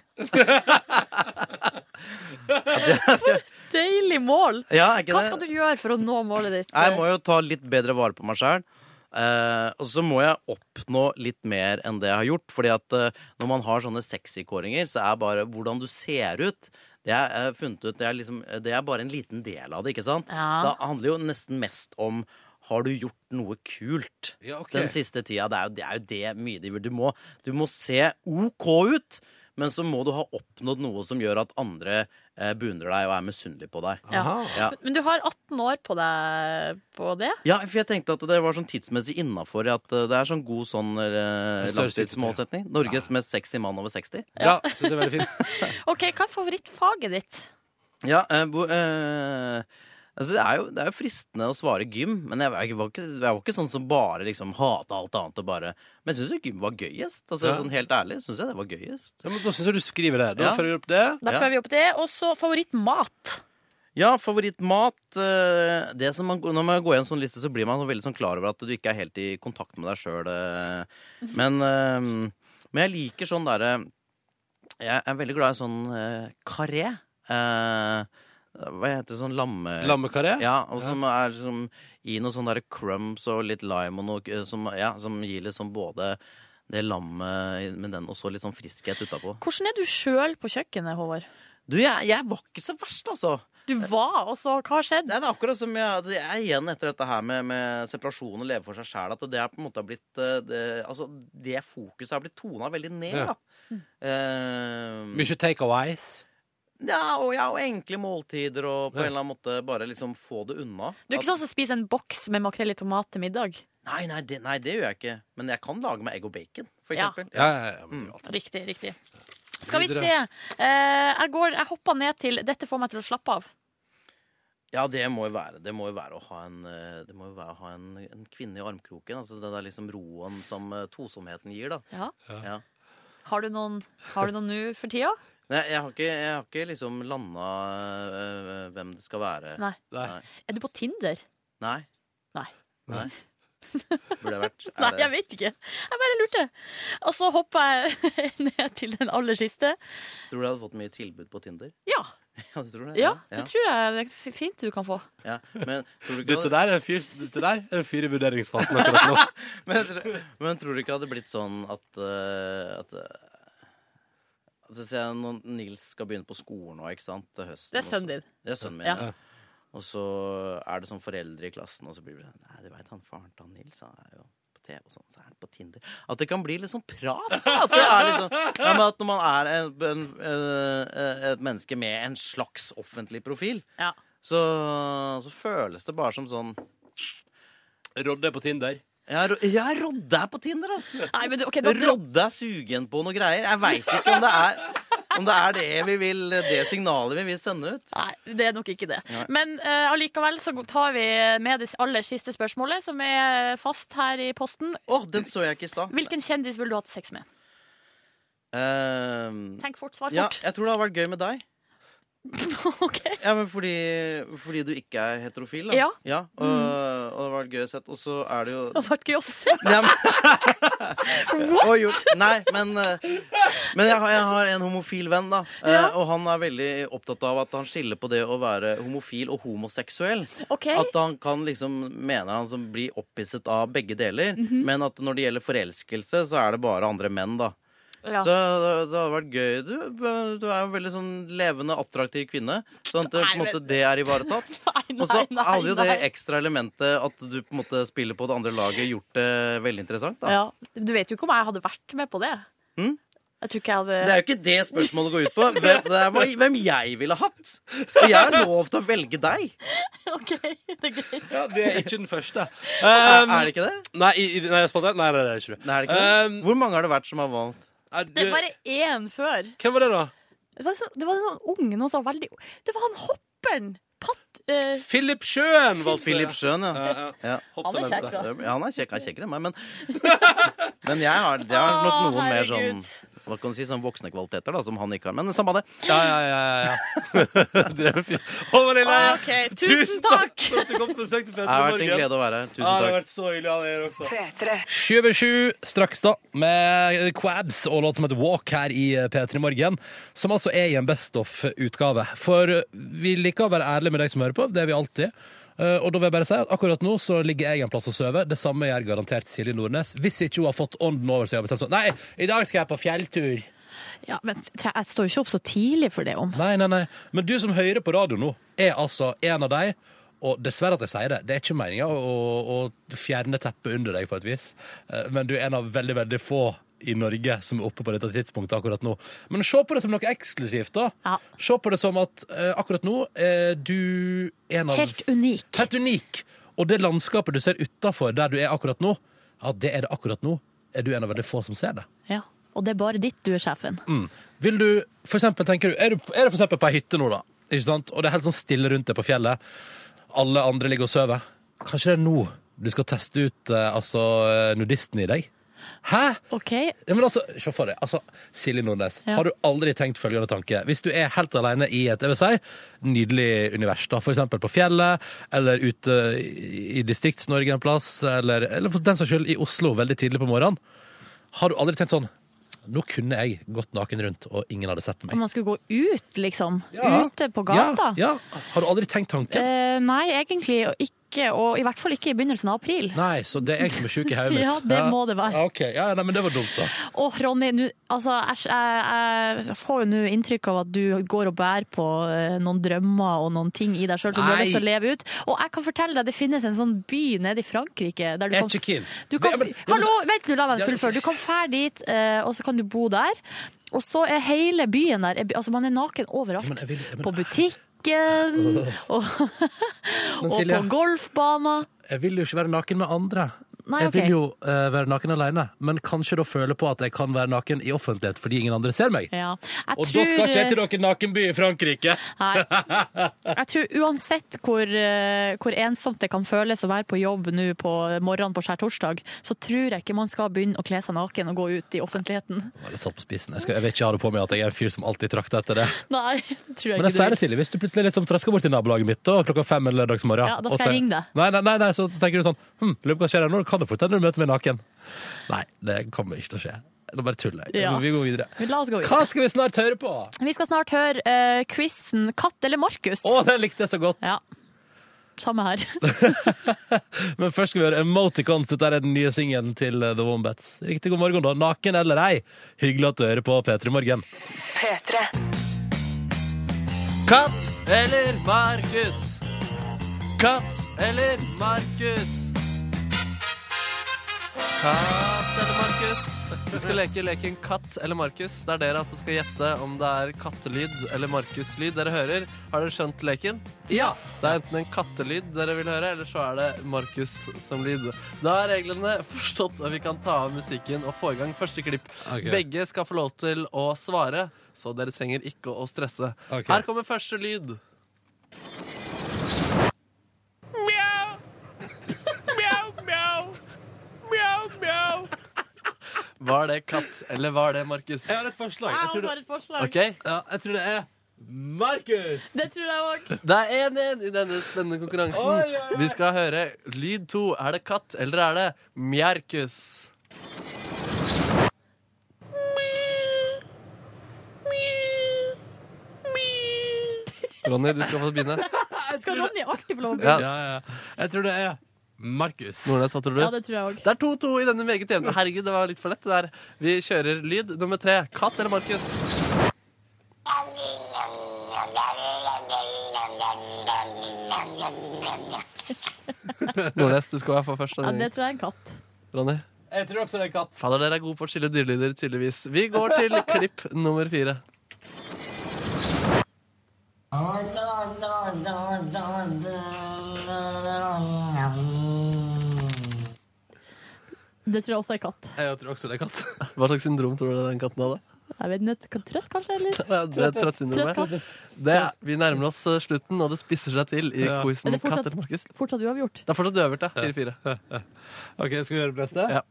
[SPEAKER 4] Deilig mål.
[SPEAKER 1] Ja, er ikke
[SPEAKER 4] Hva
[SPEAKER 1] det?
[SPEAKER 4] skal du gjøre for å nå målet ditt?
[SPEAKER 1] Jeg må jo ta litt bedre vare på meg sjøl. og så må jeg oppnå litt mer enn det jeg har gjort. Fordi at eh, når man har sånne sexy-kåringer, så er bare hvordan du ser ut det er, eh, funnet ut, det, er liksom, det er bare en liten del av det. ikke sant?
[SPEAKER 4] Ja.
[SPEAKER 1] Det handler jo nesten mest om har du gjort noe kult
[SPEAKER 3] Ja, ok.
[SPEAKER 1] den siste tida? Det er jo det, er jo det mye de vil. Du må, du må se OK ut, men så må du ha oppnådd noe som gjør at andre eh, beundrer deg og er misunnelige på deg.
[SPEAKER 4] Ja.
[SPEAKER 1] Ja.
[SPEAKER 4] Men du har 18 år på deg på det.
[SPEAKER 1] Ja, for jeg tenkte at det var sånn tidsmessig innafor at eh, det er sånn god sånn eh,
[SPEAKER 3] En større
[SPEAKER 1] langtidsmålsetning. Norges mest sexy mann over 60.
[SPEAKER 3] Ja, synes det er veldig fint.
[SPEAKER 4] OK, hva er favorittfaget ditt?
[SPEAKER 1] Ja, eh, bo, eh, altså det, er jo, det er jo fristende å svare gym, men jeg, var ikke- var ikke, jeg var ikke sånn som bare liksom hata alt annet og bare Men jeg syns jo gym var gøyest. Altså
[SPEAKER 3] Ja.
[SPEAKER 1] Sånn helt ærlig syns jeg det var gøyest.
[SPEAKER 3] Ja, men da syns jeg du skriver det. Da
[SPEAKER 1] Ja.
[SPEAKER 3] følger vi opp det.
[SPEAKER 4] Da
[SPEAKER 1] Ja.
[SPEAKER 4] fører vi opp det. Og så favorittmat.
[SPEAKER 1] Ja, favorittmat eh, det som man, Når man går gjennom sånn liste, så blir man veldig sånn klar over at du ikke er helt i kontakt med deg sjøl. Men, eh, men jeg liker sånn derre Jeg er veldig glad i sånn eh, karé. Eh, Hva heter det? Sånn lamme...
[SPEAKER 3] Lammekaré.
[SPEAKER 1] Ja, og som er som, i noe sånn derre crumbs og litt lime og noe eh, som, ja, som gir liksom både det lammet med den, og så litt sånn friskhet utapå.
[SPEAKER 4] Hvordan er du sjøl på kjøkkenet, Håvard?
[SPEAKER 1] Du, jeg, jeg var ikke så verst, altså.
[SPEAKER 4] Du var, og så hva har skjedd?
[SPEAKER 1] Nei, det er akkurat som jeg, det er igjen etter dette her med, med separasjon og leve for seg sjæl, at det er på en måte har blitt eh, det, Altså, det fokuset har blitt tona veldig ned,
[SPEAKER 3] Ja.
[SPEAKER 1] da. Eh,
[SPEAKER 3] Mye takeaways.
[SPEAKER 1] ja, og, ja, og enkle måltider, og på en eller annen måte bare liksom få det unna.
[SPEAKER 4] Du er ikke sånn som spiser en boks med makrell i tomat til middag?
[SPEAKER 1] Nei, nei det, nei, det gjør jeg ikke. Men jeg kan lage meg egg og bacon, for
[SPEAKER 4] Ja.
[SPEAKER 1] eksempel. Mm.
[SPEAKER 3] Ja, ja, ja, men det er jo alt.
[SPEAKER 4] Riktig, riktig. Skal vi
[SPEAKER 3] Videre.
[SPEAKER 4] se. Eh, jeg, går, jeg hopper ned til 'dette får meg til å slappe av'.
[SPEAKER 1] Ja, det må jo være Det må jo være å ha en, eh, det må jo være å ha en, en kvinne i armkroken. Altså den der liksom roen som eh, tosomheten gir, da.
[SPEAKER 4] Ja.
[SPEAKER 1] Ja.
[SPEAKER 4] Har du noen Har du noen nå for tida?
[SPEAKER 1] Nei, jeg har ikke, jeg har ikke liksom landa øh, hvem det skal være.
[SPEAKER 4] Nei.
[SPEAKER 1] Nei.
[SPEAKER 4] Er du på Tinder?
[SPEAKER 1] Nei.
[SPEAKER 4] [LAUGHS] Nei.
[SPEAKER 1] Burde jeg vært.
[SPEAKER 4] Nei, jeg vet ikke. Jeg bare lurte. Og så hoppa jeg [LAUGHS] ned til den aller siste.
[SPEAKER 1] Tror du jeg hadde fått mye tilbud på Tinder? [LAUGHS]
[SPEAKER 4] Ja,
[SPEAKER 1] Ja, du tror det?
[SPEAKER 4] ja det tror jeg det er fint du kan få.
[SPEAKER 1] ja. Men, tror du ikke det
[SPEAKER 6] Dette
[SPEAKER 1] hadde,
[SPEAKER 6] der er en fyr, dette der er en fyr i vurderingsfasen akkurat nå.
[SPEAKER 1] [LAUGHS] men, tror- men tror du ikke det hadde blitt sånn at eh, At, eh, at hvis jeg, når Nils skal begynne på skolen nå, ikke sant? Til høsten.
[SPEAKER 4] Det er
[SPEAKER 1] og så-
[SPEAKER 4] sønnen din.
[SPEAKER 1] Det er sønnen min,
[SPEAKER 4] Ja.
[SPEAKER 1] ja. Og så er det sånn foreldre i klassen, og så blir det sånn Nei, du veit han faren til han Nils, han er jo på TV og sånn, så er han på Tinder. At det kan bli litt sånn prat. da. At, det er liksom, ja, men at når man er en, en, eh, et menneske med en slags offentlig profil,
[SPEAKER 4] Ja.
[SPEAKER 1] så, så føles det bare som sånn
[SPEAKER 6] Rodde er på Tinder.
[SPEAKER 1] Ja, ro- ja Rodde er på Tinder, altså!
[SPEAKER 4] Nei, men du, ok, da, dro-
[SPEAKER 1] Rodde er sugen på noe greier. Jeg veit ikke om det er om det er det vi vil, det signalet vi vil sende ut.
[SPEAKER 4] Nei, det er nok ikke det.
[SPEAKER 1] Nei.
[SPEAKER 4] Men eh, allikevel så tar vi med det aller siste spørsmålet, som er fast her i posten.
[SPEAKER 1] Å, den så jeg ikke i stad.
[SPEAKER 4] Hvilken kjendis ville du hatt sex med?
[SPEAKER 1] Ehm,
[SPEAKER 4] Tenk fort, svar
[SPEAKER 1] Ja,
[SPEAKER 4] fort.
[SPEAKER 1] jeg tror det hadde vært gøy med deg.
[SPEAKER 4] [LAUGHS] OK.
[SPEAKER 1] Ja, men fordi, fordi du ikke er heterofil, da.
[SPEAKER 4] Ja.
[SPEAKER 1] og, og det hadde vært gøy å sett. Og så er det jo
[SPEAKER 4] Det hadde vært gøy å se.
[SPEAKER 1] Nei, men,
[SPEAKER 4] [LAUGHS] What?
[SPEAKER 1] Oi, jo, nei, men, eh, men jeg, har, jeg har en homofil venn, da. eh,
[SPEAKER 4] Ja.
[SPEAKER 1] Og han er veldig opptatt av at han skiller på det å være homofil og homoseksuell.
[SPEAKER 4] OK.
[SPEAKER 1] At han kan liksom mener han som blir opphisset av begge deler.
[SPEAKER 4] Mhm.
[SPEAKER 1] Men at når det gjelder forelskelse, så er det bare andre menn, da.
[SPEAKER 4] Ja.
[SPEAKER 1] Så det, det hadde vært gøy. Du, du er jo en veldig sånn levende, attraktiv kvinne. Sånn at det, på en
[SPEAKER 4] Nei,
[SPEAKER 1] måte,
[SPEAKER 4] men-
[SPEAKER 1] det er ivaretatt.
[SPEAKER 4] Nei,
[SPEAKER 1] Og så
[SPEAKER 4] nei, [LAUGHS] nei.
[SPEAKER 1] hadde jo det
[SPEAKER 4] nei.
[SPEAKER 1] ekstra elementet at du på en måte spiller på det andre laget, gjort det veldig interessant. da.
[SPEAKER 4] Ja. Du vet jo ikke om jeg hadde vært med på det. Hm?
[SPEAKER 1] Mm?
[SPEAKER 4] Jeg tror ikke jeg hadde
[SPEAKER 1] Det er jo ikke det spørsmålet går ut på. Hvem, det er hva- hvem jeg ville hatt. Og jeg har lov til å velge deg.
[SPEAKER 4] OK, det er greit.
[SPEAKER 6] Ja, det er ikke den første.
[SPEAKER 1] [LAUGHS] Er,
[SPEAKER 6] Um,
[SPEAKER 1] er det ikke det?
[SPEAKER 6] Nei, i, i- nei, spontant, nei, nei, det er ikke det.
[SPEAKER 1] Nei, er det ikke
[SPEAKER 6] Um,
[SPEAKER 1] det? Hvor mange har det vært som har valgt?
[SPEAKER 6] Er
[SPEAKER 4] Det
[SPEAKER 6] du-
[SPEAKER 4] er bare én før.
[SPEAKER 6] Hvem var det, da?
[SPEAKER 4] Det var, så, det var noen unge noen som var veldig Det var han hopperen! Patt... eh,
[SPEAKER 6] Philip Sjøen valgte
[SPEAKER 1] Philip Schjøn, ja.
[SPEAKER 6] Ja,
[SPEAKER 1] ja.
[SPEAKER 6] ja.
[SPEAKER 4] han er kjekk,
[SPEAKER 6] Hopptalentet.
[SPEAKER 4] da.
[SPEAKER 1] Ja, han er kjekk, han er kjekkere enn meg, men [LAUGHS] Men jeg har, jeg har nok
[SPEAKER 4] Å,
[SPEAKER 1] noen mer sånn
[SPEAKER 4] herregud.
[SPEAKER 1] hva kan du si, sånn voksne kvaliteter da, som han ikke har. Men samme det.
[SPEAKER 6] Ja, ja, ja. ja,
[SPEAKER 1] [LAUGHS]
[SPEAKER 6] ja. Drevet fyr. Å, Vanille!
[SPEAKER 4] OK, tusen
[SPEAKER 6] [LAUGHS]
[SPEAKER 4] takk!
[SPEAKER 6] for at du kom på besøk til
[SPEAKER 1] Det
[SPEAKER 6] Petra
[SPEAKER 1] har
[SPEAKER 6] i
[SPEAKER 1] vært en
[SPEAKER 6] morgen.
[SPEAKER 1] glede å være her.
[SPEAKER 6] Ja, det
[SPEAKER 1] Tusen
[SPEAKER 6] har
[SPEAKER 1] takk.
[SPEAKER 6] vært så hyggelig av dere også.
[SPEAKER 10] P3.
[SPEAKER 3] Sju over sju straks, da, med Quabs og låt som heter Walk her i P3 Morgen. Som altså er i en Best of-utgave. For vi liker å være ærlige med deg som hører på. Det er vi alltid. Eh, Og da vil jeg bare si at akkurat nå så ligger jeg en plass og sover. Det samme gjør garantert Silje Nordnes. Hvis ikke hun har fått ånden over seg og bestemt sånn Nei, i dag skal jeg på fjelltur.
[SPEAKER 4] Ja, men tre- jeg står jo ikke opp så tidlig for det om.
[SPEAKER 3] Nei, nei, nei. Men du som hører på radio nå, er altså en av deg. Og dessverre at jeg sier det, det er ikke meninga å, å fjerne teppet under deg på et vis. Eh, Men du er en av veldig, veldig få i Norge som er oppe på dette tidspunktet akkurat nå. Men se på det som noe eksklusivt, da.
[SPEAKER 4] Ja.
[SPEAKER 3] Se på det som at eh, akkurat nå er du en av
[SPEAKER 4] Helt unik.
[SPEAKER 3] Helt unik. Og det landskapet du ser utafor der du er akkurat nå, ja, det er det akkurat nå. Er du en av veldig få som ser det?
[SPEAKER 4] Ja. Og det er bare ditt du er sjefen.
[SPEAKER 3] Mm. Vil du, for eksempel, tenker du, er du, er du for eksempel på ei hytte nå, da? Ikke sant? Og det er helt sånn stille rundt deg på fjellet. Alle andre ligger og sover. Kanskje det er nå du skal teste ut eh, altså, eh, nudisten i deg? Hæ?
[SPEAKER 4] OK.
[SPEAKER 3] Ja, men altså, Se for deg. altså, Silje Nordnes,
[SPEAKER 4] Ja.
[SPEAKER 3] har du aldri tenkt følgende tanke? Hvis du er helt alene i et jeg vil si, nydelig univers, da, for eksempel på fjellet, eller ute i i Distrikts-Norge en plass, eller, eller for den saks skyld i Oslo veldig tidlig på morgenen, har du aldri tenkt sånn Nå kunne jeg gått naken rundt, og ingen hadde sett meg.
[SPEAKER 4] Om man skulle gå ut, liksom.
[SPEAKER 3] Ja.
[SPEAKER 4] Ute på gata.
[SPEAKER 3] Ja, ja. Har du aldri tenkt tanken?
[SPEAKER 4] Eh, nei, egentlig og ikke. Og i hvert fall ikke i begynnelsen av april.
[SPEAKER 3] Nei, så det er jeg som er sjuk i hodet mitt.
[SPEAKER 4] [LAUGHS] Ja, det må det være.
[SPEAKER 3] Ja, ok. ja, nei, men det var dumt, da.
[SPEAKER 4] Åh, Ronny, nu, altså, æsj, jeg, jeg får jo nå inntrykk av at du går og bærer på eh, noen drømmer og noen ting i deg sjøl som du har
[SPEAKER 3] Nei.
[SPEAKER 4] lyst til å leve ut. Og jeg kan fortelle deg, det finnes en sånn by nede i Frankrike der du
[SPEAKER 3] Jeg er
[SPEAKER 4] kan,
[SPEAKER 3] ikke keen.
[SPEAKER 4] Du kan,
[SPEAKER 3] Det- men- det-
[SPEAKER 4] hallo, vent nå, la meg
[SPEAKER 3] Ja,
[SPEAKER 4] fullføre. Du kan fære dit, eh, og så kan du bo der. Og så er hele byen der Altså, man er naken overalt.
[SPEAKER 3] Men jeg vil, jeg,
[SPEAKER 4] På
[SPEAKER 3] men,
[SPEAKER 4] butikken og, [LAUGHS] og
[SPEAKER 3] Silje.
[SPEAKER 4] på golfbaner.
[SPEAKER 3] jeg vil jo ikke være naken med andre.
[SPEAKER 4] Nei,
[SPEAKER 3] Jeg
[SPEAKER 4] ok.
[SPEAKER 3] vil jo eh, være naken alene, men kanskje da føle på at jeg kan være naken i offentlighet fordi ingen andre ser meg.
[SPEAKER 4] Ja. Jeg
[SPEAKER 3] Og
[SPEAKER 4] tror,
[SPEAKER 3] da skal ikke jeg til noen nakenby i Frankrike! [LAUGHS]
[SPEAKER 4] Nei. Jeg tror uansett hvor, eh, hvor ensomt det kan føles å være på jobb nå på morgenen på skjærtorsdag, så tror jeg ikke man skal begynne å kle seg naken og gå ut i offentligheten. [LAUGHS]
[SPEAKER 3] Jeg var litt satt på spissen. Jeg, skal, jeg vil ikke ha det på meg at jeg er en fyr som alltid trakter etter det.
[SPEAKER 4] Nei, det tror jeg
[SPEAKER 3] Men
[SPEAKER 4] ikke.
[SPEAKER 3] jeg sier
[SPEAKER 4] du-
[SPEAKER 3] det, Silje, hvis du plutselig liksom trasker bort til nabolaget mitt da, klokka fem en lørdagsmorgen
[SPEAKER 4] Ja, da skal
[SPEAKER 3] og
[SPEAKER 4] jeg
[SPEAKER 3] tenker-
[SPEAKER 4] ringe deg.
[SPEAKER 3] Nei, nei, nei, nei, så tenker du sånn Hm, lurer på hva skjer her nå? Kan det fort hende du møter meg naken? Nei, det kommer ikke til å skje. Nå bare tuller jeg.
[SPEAKER 4] Ja.
[SPEAKER 3] Vi går videre.
[SPEAKER 4] Men la oss gå
[SPEAKER 3] Hva
[SPEAKER 4] videre.
[SPEAKER 3] skal vi snart høre på?
[SPEAKER 4] Vi skal snart høre uh, quizen Katt eller Markus.
[SPEAKER 3] Å, den likte jeg så godt!
[SPEAKER 4] Ja. Samme her. [LAUGHS]
[SPEAKER 3] Men først skal vi høre Emoticons. Dette er den nye singelen til The Wombats. Riktig god morgen, da. Naken eller ei. Hyggelig at du hører på P3 Morgen.
[SPEAKER 2] P3.
[SPEAKER 6] Katt eller Markus? Katt eller Markus? Katt eller Markus? Vi skal leke leken Katt eller Markus, der dere altså skal gjette om det er kattelyd eller Markus-lyd dere hører. Har dere skjønt leken? Ja. Det er enten en kattelyd dere vil høre, eller så er det Markus som lyd. Da er reglene forstått, og vi kan ta av musikken og få i gang første klipp.
[SPEAKER 3] Ok.
[SPEAKER 6] Begge skal få lov til å svare, så dere trenger ikke å stresse.
[SPEAKER 3] Ok.
[SPEAKER 6] Her kommer første lyd. Var det katt, eller var det Markus?
[SPEAKER 5] Jeg har et forslag. Jeg tror det,
[SPEAKER 4] et forslag.
[SPEAKER 6] Ok,
[SPEAKER 5] ja, jeg tror det er Markus!
[SPEAKER 4] Det tror jeg òg.
[SPEAKER 6] Det er 1-1 i denne spennende konkurransen. Vi skal høre lyd to. Er det katt, eller er det Mjerkus? Ronny, du skal få begynne.
[SPEAKER 4] Skal Ronny alltid få lov å
[SPEAKER 6] Ja,
[SPEAKER 5] Ja, ja. Jeg tror det er Markus.
[SPEAKER 6] Nordnes, hva tror du?
[SPEAKER 4] Ja, det tror jeg òg.
[SPEAKER 6] Det er 2-2 i denne meget jevne. Herregud, det var litt for lett. det der. Vi kjører lyd nummer tre. Katt eller
[SPEAKER 5] [LAUGHS]
[SPEAKER 6] Markus? Nordnes, du skal være for først.
[SPEAKER 4] Ja, det
[SPEAKER 6] denne gangen.
[SPEAKER 4] tror jeg er en katt.
[SPEAKER 6] Ronny?
[SPEAKER 5] Jeg tror også det er katt.
[SPEAKER 6] Fader, dere er gode på å skille dyrelyder, tydeligvis. Vi går
[SPEAKER 5] [LAUGHS]
[SPEAKER 6] til klipp nummer fire.
[SPEAKER 4] Det tror jeg også er en katt.
[SPEAKER 5] Jeg tror også det er katt.
[SPEAKER 6] [LAUGHS] Hva slags syndrom tror dere den katten hadde?
[SPEAKER 4] Jeg vet ikke, Trøtt, kanskje? eller?
[SPEAKER 6] Ja, Det er
[SPEAKER 4] Trøtt
[SPEAKER 6] trøttsyndromet.
[SPEAKER 4] katt.
[SPEAKER 6] Det, vi nærmer oss eh, slutten, og det spisser seg til i
[SPEAKER 5] Ja.
[SPEAKER 6] quizen
[SPEAKER 4] Er det fortsatt-
[SPEAKER 6] Katt eller Markus.
[SPEAKER 4] Fortsatt uavgjort.
[SPEAKER 6] Det er fortsatt øvert, ja. 4-4.
[SPEAKER 5] [LAUGHS] Ok, Skal vi gjøre det beste?
[SPEAKER 6] Ja.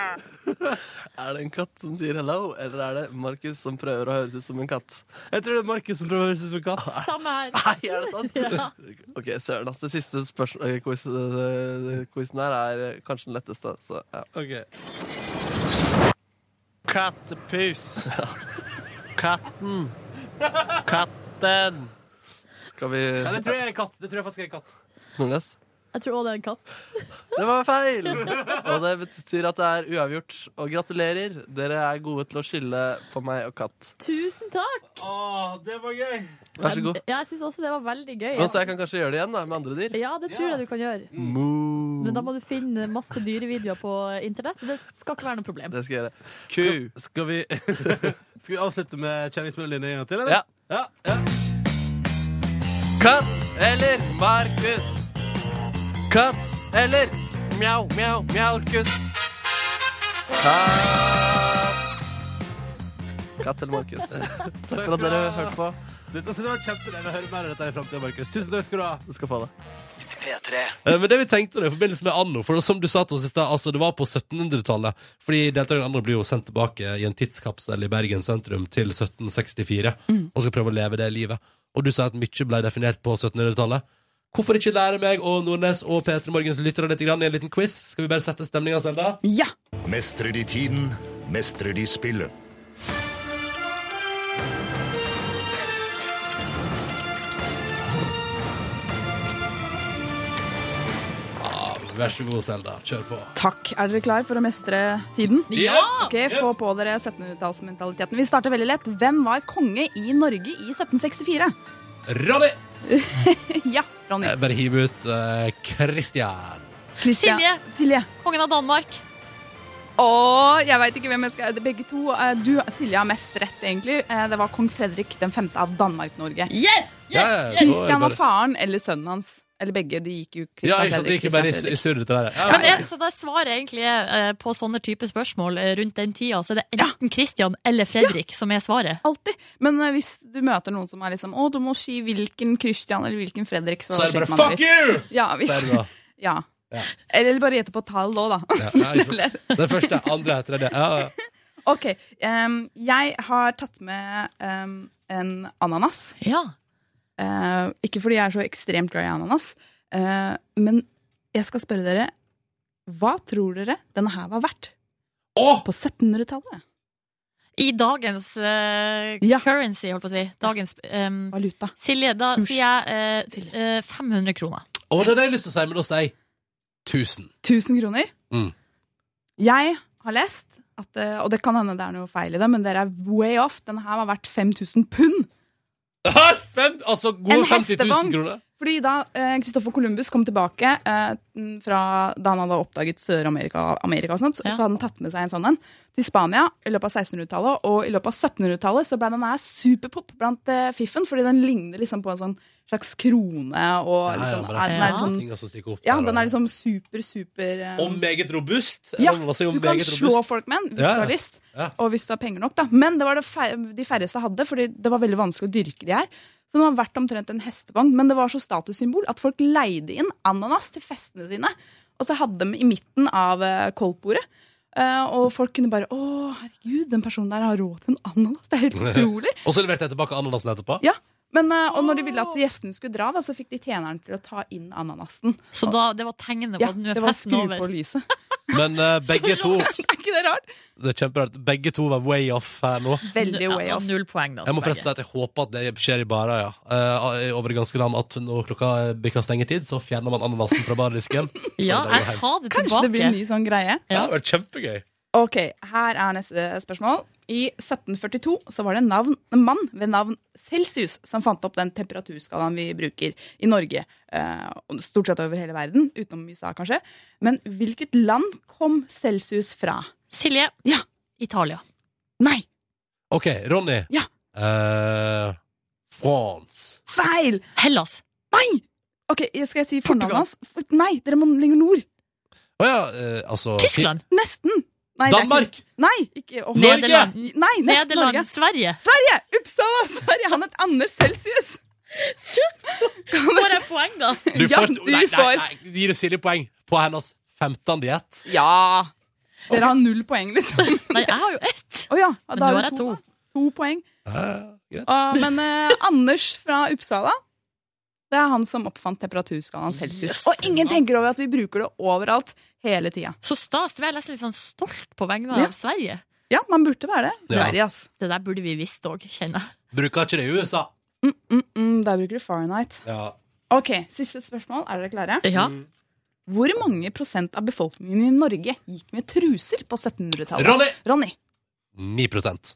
[SPEAKER 6] Er det en katt som sier hello, eller er det Markus som prøver å høres ut som en katt?
[SPEAKER 5] Jeg tror det er Markus som prøver å høres ut som
[SPEAKER 6] [LAUGHS]
[SPEAKER 5] katt.
[SPEAKER 4] Samme her.
[SPEAKER 6] Nei, er det
[SPEAKER 4] [LAUGHS]
[SPEAKER 6] sant?
[SPEAKER 4] Ja.
[SPEAKER 6] Ah, Ok, søren, ass. Det siste spørsm- eh, quiz, eh, quizen her er eh, kanskje den letteste, så ja.
[SPEAKER 5] Ok.
[SPEAKER 6] [LAUGHS]
[SPEAKER 11] Kattepus. Katten. Katten.
[SPEAKER 6] Skal vi
[SPEAKER 5] Ja, det tror jeg er katt. Det tror jeg faktisk er katt.
[SPEAKER 6] Nordnes?
[SPEAKER 4] Jeg tror òg det er en katt.
[SPEAKER 6] Det var feil! [LAUGHS] Og det betyr at det er uavgjort. Og gratulerer, dere er gode til å skille på meg og katt.
[SPEAKER 4] Tusen takk!
[SPEAKER 5] Å, det var gøy!
[SPEAKER 6] Vær så god.
[SPEAKER 4] Ja, jeg syns også det var veldig gøy.
[SPEAKER 6] Men så jeg kan kanskje gjøre det igjen da, med andre dyr.
[SPEAKER 4] Ja, det tror jeg du kan gjøre. Men da må du finne masse dyrevideoer på internett. så Det skal ikke være noe problem.
[SPEAKER 6] Det skal jeg gjøre. Ku.
[SPEAKER 5] Skal vi, skal vi [LAUGHS] avslutte med kjenningsmelodien en gang til, eller?
[SPEAKER 6] Ja.
[SPEAKER 5] ja, ja.
[SPEAKER 6] Katt eller Markus? Katt eller mjau, mjau, mjaurkus? Katt. Katt eller Markus?
[SPEAKER 4] [LAUGHS]
[SPEAKER 6] Takk for at dere hørte på.
[SPEAKER 5] Dette, altså, det var kjempedeilig å høre mer av dette i fremtiden, Markus. Tusen takk skal du ha.
[SPEAKER 6] Du skal få det.
[SPEAKER 12] P3.
[SPEAKER 3] Eh, Men det vi tenkte da, i forbindelse med Anno, for som du sa til oss i sted, altså det var på 1700-tallet, fordi deltakerne i Anno blir jo sendt tilbake i en tidskapsel i Bergen sentrum til 1764, og skal prøve å leve det livet. Og du sa at mye ble definert på 1700-tallet. Hvorfor ikke lære meg og Nordnes og P3 Morgens lyttere litt grann i en liten quiz? Skal vi bare sette stemninga selv, da?
[SPEAKER 2] Ja!
[SPEAKER 13] Mestrer de tiden, mestrer de spillet.
[SPEAKER 3] Ah, Vær så god, Selda. Kjør på.
[SPEAKER 2] Takk. Er dere klar for å mestre tiden?
[SPEAKER 3] Ja!
[SPEAKER 2] Ok, Få på dere 1700-tallsmentaliteten. Vi starter veldig lett. Hvem var konge i Norge i 1764?
[SPEAKER 3] Ronny!
[SPEAKER 2] [LAUGHS] Ja, Ronny.
[SPEAKER 3] Jeg Bare hiv ut eh, Christian.
[SPEAKER 2] Christian.
[SPEAKER 4] Silje.
[SPEAKER 2] Silje.
[SPEAKER 4] Kongen av Danmark.
[SPEAKER 2] Å, Og jeg veit ikke hvem jeg skal Begge to. eh, Du, Silje, har mest rett, egentlig. Eh, Det var kong Fredrik den femte av Danmark-Norge.
[SPEAKER 14] Yes!
[SPEAKER 3] Ja, ja, ja.
[SPEAKER 2] Kristian og
[SPEAKER 3] Bare-
[SPEAKER 2] faren eller sønnen hans. Eller begge. De gikk jo Christian
[SPEAKER 3] Ja, ikke sant, det
[SPEAKER 2] Fredrik,
[SPEAKER 3] gikk jo bare i,
[SPEAKER 2] Christian
[SPEAKER 3] i surr til det der. Ja,
[SPEAKER 4] Men det, så da svaret egentlig er, eh, på sånne type spørsmål eh, rundt den tida, så er det enten Christian eller Fredrik som er svaret.
[SPEAKER 2] Alltid. Men eh, hvis du møter noen som er liksom Å, du må si hvilken Christian eller hvilken Fredrik, så,
[SPEAKER 3] Så er det
[SPEAKER 2] sjekker
[SPEAKER 3] bare
[SPEAKER 2] man
[SPEAKER 3] fuck
[SPEAKER 2] ut.
[SPEAKER 3] you!
[SPEAKER 2] Ja, hvis,
[SPEAKER 3] Så er det bra.
[SPEAKER 2] [LAUGHS] ja.
[SPEAKER 3] Ja.
[SPEAKER 2] Eller bare gjette på tall òg, da.
[SPEAKER 3] Ja, ja,
[SPEAKER 2] [LAUGHS]
[SPEAKER 3] ikke sant. Den første, andre, tredje. Ja, ja.
[SPEAKER 2] Ok, em, jeg har tatt med em, en ananas.
[SPEAKER 4] Ja.
[SPEAKER 2] Eh, ikke fordi jeg er så ekstremt glad i ananas, eh, men jeg skal spørre dere Hva tror dere denne her var verdt? På 1700-tallet.
[SPEAKER 4] I dagens eh, currency, holdt på å si. Dagens ehm,
[SPEAKER 2] Valuta.
[SPEAKER 4] Silje, da
[SPEAKER 2] Kurs.
[SPEAKER 4] sier jeg eh, eh, 500 kroner.
[SPEAKER 3] Og det er det jeg har lyst til å si, men da sier jeg 1000.
[SPEAKER 2] 1000 kroner.
[SPEAKER 3] Mm.
[SPEAKER 2] Jeg har lest, at, eh, og det kan hende det er noe feil i det, men dere er way off. Denne her var verdt 5000 pund.
[SPEAKER 3] [LAUGHS] Fem, altså
[SPEAKER 2] En
[SPEAKER 3] gode 50
[SPEAKER 2] hestevogn.
[SPEAKER 3] 000 kroner.
[SPEAKER 2] Fordi da Kristoffer Columbus kom tilbake eh, fra da han hadde oppdaget Sør-Amerika Amerika og sånt,
[SPEAKER 4] Ja.
[SPEAKER 2] så hadde han tatt med seg en sånn en til Spania i løpet av 1600-tallet. Og i løpet av 1700-tallet så ble den her superpop blant eh, fiffen, fordi den ligner liksom på en sånn slags krone. Og
[SPEAKER 3] Ja, ja,
[SPEAKER 2] liksom,
[SPEAKER 3] bare
[SPEAKER 2] er, den
[SPEAKER 3] fem
[SPEAKER 2] er sånn,
[SPEAKER 3] ting, altså, stikke opp
[SPEAKER 2] ja,
[SPEAKER 3] der,
[SPEAKER 2] den
[SPEAKER 3] og-
[SPEAKER 2] er liksom super, super eh,
[SPEAKER 3] Og meget robust.
[SPEAKER 2] ja,
[SPEAKER 3] Den var også jo
[SPEAKER 2] du kan
[SPEAKER 3] meget
[SPEAKER 2] slå
[SPEAKER 3] robust.
[SPEAKER 2] folk med den hvis du
[SPEAKER 3] Ja, ja.
[SPEAKER 2] har lyst,
[SPEAKER 3] Ja.
[SPEAKER 2] og hvis du har penger nok. da Men det var det fe de færreste hadde, Fordi det var veldig vanskelig å dyrke de her. Så den var verdt omtrent en hestevogn, men det var så statussymbol at folk leide inn ananas til festene sine, og så hadde dem i midten av eh, koldtbordet. Eh, og folk kunne bare 'Å, herregud, den personen der har råd til en ananas.' Det er
[SPEAKER 3] [LAUGHS]
[SPEAKER 2] helt utrolig.
[SPEAKER 3] Og så leverte jeg tilbake ananasen etterpå.
[SPEAKER 2] Ja, men, eh, Og når de ville at gjestene skulle dra, da, så fikk de tjeneren til å ta inn ananasen.
[SPEAKER 4] Så da, det var tegnet på
[SPEAKER 2] Ja,
[SPEAKER 4] at nå
[SPEAKER 2] det
[SPEAKER 4] er
[SPEAKER 2] var å
[SPEAKER 4] festen
[SPEAKER 2] skru på
[SPEAKER 4] over.
[SPEAKER 2] lyset.
[SPEAKER 3] Men
[SPEAKER 2] [LAUGHS]
[SPEAKER 3] eh, begge to
[SPEAKER 2] [LAUGHS] er ikke det rart?
[SPEAKER 3] [LAUGHS] Det er kjemperart. Begge to var way off her nå.
[SPEAKER 2] Veldig way
[SPEAKER 4] Ja,
[SPEAKER 2] off.
[SPEAKER 4] null poeng, da.
[SPEAKER 3] Jeg må
[SPEAKER 4] til
[SPEAKER 3] forresten si at jeg håper at det skjer i barer, ja. Eh, over det ganske land at når klokka eh, bikker stengetid, så fjerner man ananasen fra bardisken.
[SPEAKER 2] [LAUGHS]
[SPEAKER 4] begge. Ja,
[SPEAKER 3] Og det går
[SPEAKER 4] jeg
[SPEAKER 3] hjem.
[SPEAKER 4] tar det
[SPEAKER 2] Kanskje det blir en
[SPEAKER 4] tilbake.
[SPEAKER 2] ny sånn greie.
[SPEAKER 3] Det hadde vært kjempegøy.
[SPEAKER 2] Ok, her er neste spørsmål. I 1742 så var det en, navn, en mann ved navn Celsius som fant opp den temperaturskalaen vi bruker i Norge. eh, og Stort sett over hele verden, utenom USA kanskje. Men hvilket land kom Celsius fra?
[SPEAKER 4] Silje,
[SPEAKER 2] Ja.
[SPEAKER 4] Italia.
[SPEAKER 2] Nei,
[SPEAKER 3] OK, Ronny.
[SPEAKER 2] Ja.
[SPEAKER 3] Eh, France.
[SPEAKER 2] feil!
[SPEAKER 4] Hellas.
[SPEAKER 2] Nei! Ok, jeg skal jeg si fornavnet
[SPEAKER 4] Portugal.
[SPEAKER 2] hans? For- Nei, dere må lenger nord.
[SPEAKER 3] Å ja, eh, altså
[SPEAKER 4] Tyskland.
[SPEAKER 2] Nesten. Nei, det er ikke-
[SPEAKER 3] Danmark!
[SPEAKER 2] Nei, ikke åh.
[SPEAKER 3] Norge!
[SPEAKER 4] Nederland.
[SPEAKER 2] Nei, nesten Norge.
[SPEAKER 4] Nederland. Sverige.
[SPEAKER 2] Sverige! Uppsala, Sverige! Han het Anders Celsius.
[SPEAKER 4] Får jeg poeng, da?
[SPEAKER 3] Du
[SPEAKER 2] Ja,
[SPEAKER 3] får,
[SPEAKER 2] du
[SPEAKER 3] nei, nei,
[SPEAKER 2] får-
[SPEAKER 3] nei, det gir jo Silje poeng på hennes 15. diett.
[SPEAKER 2] Ja! Dere har null poeng, liksom.
[SPEAKER 4] [LAUGHS] Nei, jeg har jo ett.
[SPEAKER 2] Å ja,
[SPEAKER 4] Men
[SPEAKER 2] da
[SPEAKER 4] nå
[SPEAKER 2] har
[SPEAKER 4] er
[SPEAKER 2] vi to.
[SPEAKER 4] jeg to.
[SPEAKER 2] da. To poeng.
[SPEAKER 3] Eh, greit.
[SPEAKER 2] Ah, men eh, Anders fra Uppsala det er han som oppfant temperaturskalaen celsius.
[SPEAKER 4] Yes.
[SPEAKER 2] og ingen tenker over at vi bruker det overalt hele tida.
[SPEAKER 4] Så stas. Det ble jeg nesten litt sånn stolt på vegne av
[SPEAKER 2] Ja.
[SPEAKER 4] Sverige.
[SPEAKER 2] Ja, man burde være det.
[SPEAKER 3] Ja.
[SPEAKER 2] Sverige, ass.
[SPEAKER 4] Det der burde vi visst òg, kjenner jeg.
[SPEAKER 3] Bruker ikke det i USA.
[SPEAKER 2] Mm, mm, mm, der bruker du Fahrenheit.
[SPEAKER 3] Ja. Mm.
[SPEAKER 2] Ok, Siste spørsmål. Er dere klare?
[SPEAKER 4] Ja.
[SPEAKER 2] Hvor mange prosent av befolkningen i Norge gikk med truser på 1700-tallet?
[SPEAKER 3] Ronny!
[SPEAKER 2] Ronny.
[SPEAKER 3] 9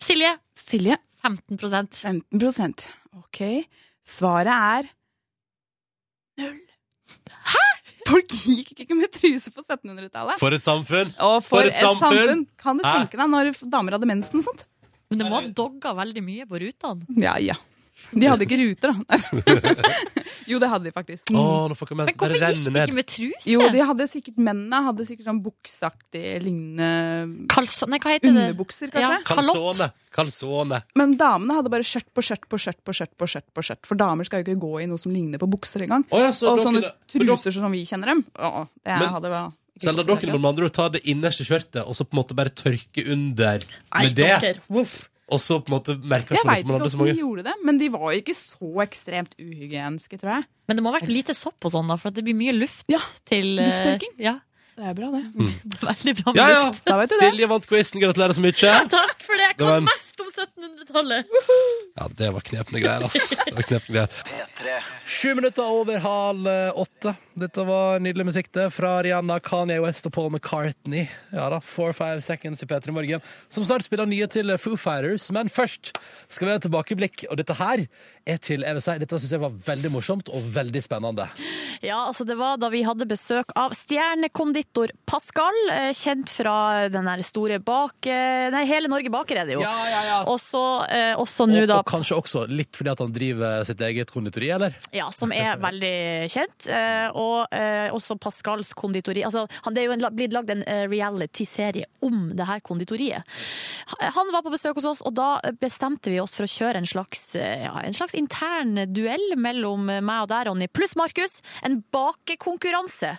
[SPEAKER 4] Silje,
[SPEAKER 2] Silje.
[SPEAKER 4] 15 Nei,
[SPEAKER 2] 15 prosent. Ok. Svaret er null. Hæ?! Folk gikk ikke med truse på 1700-tallet.
[SPEAKER 3] For et samfunn!
[SPEAKER 2] Og for, et, samfunn. Kan du
[SPEAKER 3] Hæ?
[SPEAKER 2] tenke deg når damer hadde mensen og sånt?
[SPEAKER 4] Men det må ha dogga veldig mye på rutene.
[SPEAKER 2] Ja, ja. De hadde ikke ruter, da. [LAUGHS] jo, det hadde de faktisk.
[SPEAKER 3] Å, nå får ikke
[SPEAKER 4] Men
[SPEAKER 3] mensen
[SPEAKER 4] hvorfor gikk
[SPEAKER 3] bare renne
[SPEAKER 4] de
[SPEAKER 3] ned.
[SPEAKER 4] ikke med truse?
[SPEAKER 2] Jo, de hadde sikkert mennene hadde sikkert sånn bukseaktig lignende
[SPEAKER 4] Kalsa... Nei, hva heter det?
[SPEAKER 2] underbukser, kanskje.
[SPEAKER 4] Ja. Kalott.
[SPEAKER 3] Kalsone. Kalsone.
[SPEAKER 2] Men damene hadde bare skjørt på skjørt på skjørt på skjørt på skjørt. på skjørt For damer skal jo ikke gå i noe som ligner på bukser engang.
[SPEAKER 3] Å ja, så
[SPEAKER 2] Og
[SPEAKER 3] dere-
[SPEAKER 2] sånne
[SPEAKER 3] men dere-
[SPEAKER 2] truser som vi kjenner dem. Å, det
[SPEAKER 3] Men-
[SPEAKER 2] hadde vært
[SPEAKER 3] Selda, dere må med andre ord ta det innerste skjørtet og så på en måte bare tørke under med det.
[SPEAKER 4] dere. Voff.
[SPEAKER 3] Og så på en måte merker
[SPEAKER 2] Jeg
[SPEAKER 3] man
[SPEAKER 2] veit
[SPEAKER 3] ikke
[SPEAKER 2] ikke
[SPEAKER 3] hverandre så
[SPEAKER 2] hvordan de
[SPEAKER 3] mange.
[SPEAKER 2] gjorde det, men de var jo ikke så ekstremt uhygieniske, tror jeg.
[SPEAKER 4] Men det må ha vært lite sopp og sånn, da, for at det blir mye luft
[SPEAKER 2] Ja,
[SPEAKER 4] til eh,
[SPEAKER 2] lufttørking.
[SPEAKER 4] Ja,
[SPEAKER 2] Det er bra, det.
[SPEAKER 4] det er [LAUGHS] veldig bra med
[SPEAKER 3] Ja, ja.
[SPEAKER 4] luft. [LAUGHS]
[SPEAKER 2] Da vet du det.
[SPEAKER 3] Silje vant quizen, gratulerer så mye.
[SPEAKER 4] Takk for det! Jeg
[SPEAKER 3] Det var
[SPEAKER 4] kan
[SPEAKER 3] en-
[SPEAKER 4] mest om 1700-tallet.
[SPEAKER 3] Ja, det var knepne greier, ass. Det var knepne greier.
[SPEAKER 15] P3.
[SPEAKER 3] Sju minutter over halv eh, åtte.
[SPEAKER 7] Dette var nydelig musikk det, fra Rihanna, Kanye West og Paul McCartney. Ja da, Four Five Seconds i P3 Morgen, som snart spiller nye til Foo Fighters. Men først skal vi ha et tilbakeblikk, og dette her er til jeg vil si, Dette syns jeg var veldig morsomt og veldig spennende.
[SPEAKER 4] Ja, altså det var da vi hadde besøk av stjernekonditor Pascal, eh, kjent fra den der store bak... eh, Nei, Hele Norge baker er det jo.
[SPEAKER 7] Ja, ja, ja.
[SPEAKER 4] Og så eh, også
[SPEAKER 7] Og,
[SPEAKER 4] nå da
[SPEAKER 7] og kanskje også litt fordi at han driver sitt eget konditori, eller?
[SPEAKER 4] Ja, som er veldig kjent. eh, Og eh, også Pascals konditori. Altså, han, det er jo en, la- blitt lagd en eh, reality-serie om det her konditoriet. Ha- Han var på besøk hos oss, og da bestemte vi oss for å kjøre en slags, eh, ja, en slags intern duell mellom meg og deg, Ronny, pluss Markus. En bakekonkurranse.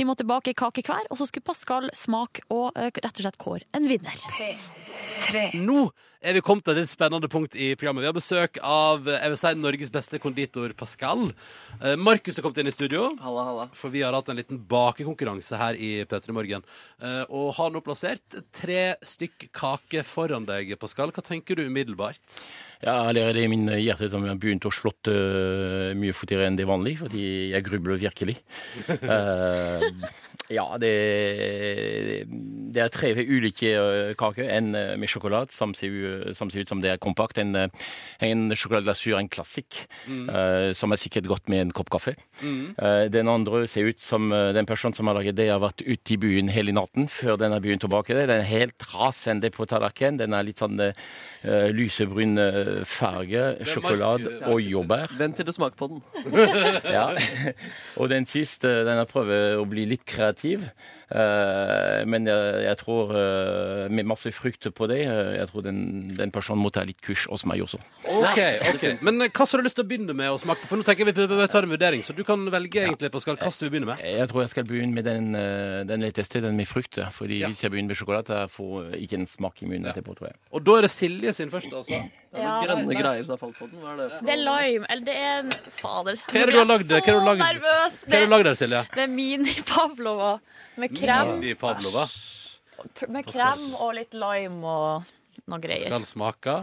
[SPEAKER 4] Vi måtte bake kake hver, og så skulle Pascal smake og eh, rett og slett kåre en vinner.
[SPEAKER 3] Nå er vi kommet til et litt spennende punkt i programmet. Vi har besøk av eh, jeg vil si, Norges beste konditor Pascal. Eh, Markus har kommet inn i studio,
[SPEAKER 6] Halla, halla.
[SPEAKER 3] for vi har hatt en liten bakekonkurranse her i P3 Morgen. Eh, Og har nå plassert tre stykk kake foran deg, Pascal. Hva tenker du umiddelbart?
[SPEAKER 16] Ja, eller det er min hjerte som har begynt å slått eh, mye fortere enn det vanlige, fordi jeg grubler virkelig. Eh, ja, det, det er tre ulike eh, kaker. En eh, med sjokolade, som ser, u- som ser ut som det er kompakt. En, eh, en sjokoladeglasur, en klassikk, eh, som er sikkert godt med en kopp kaffe. Eh, Den andre ser ut som eh, den personen som har laget det, har vært ute i byen hele natten før den har begynt å bake det. Den er helt rasende på tallerkenen. Den er litt sånn eh, eh, lysebrun eh, farge, sjokolade og jordbær.
[SPEAKER 6] Vent til du smaker på den.
[SPEAKER 16] [LAUGHS] Ja. Og den siste, eh, den har prøvd å bli litt kreativ. eh, men jeg, jeg tror, eh, med masse frukt på det, eh, jeg tror den, den personen må ta litt kurs hos meg også.
[SPEAKER 3] Ok, ok. Men eh, hva så har du lyst til å begynne med å smake? For nå tenker jeg vi, vi, vi tar en vurdering, så du kan velge egentlig, Pascal. Hva skal vi begynne med?
[SPEAKER 16] Jeg tror jeg skal begynne med den, eh, den letteste, den med frukt. ja. Fordi hvis jeg begynner med sjokolade, jeg får jeg ikke en smak i munnen etterpå, tror jeg.
[SPEAKER 3] Og da er det Silje sin først, altså.
[SPEAKER 6] Det er noen grønne greier som har falt på den. Hva er det? for
[SPEAKER 4] Det er
[SPEAKER 6] noe?
[SPEAKER 4] lime, eller det er en Fader.
[SPEAKER 3] Hva er det du har lagd? Hva er det du har lagd?
[SPEAKER 4] nervøs.
[SPEAKER 3] Hva har du lagd der, Silje?
[SPEAKER 4] Det er mini pavlova med krem,
[SPEAKER 3] Mini Pavlova.
[SPEAKER 4] med krem og litt lime og noe greier.
[SPEAKER 3] Skal smake.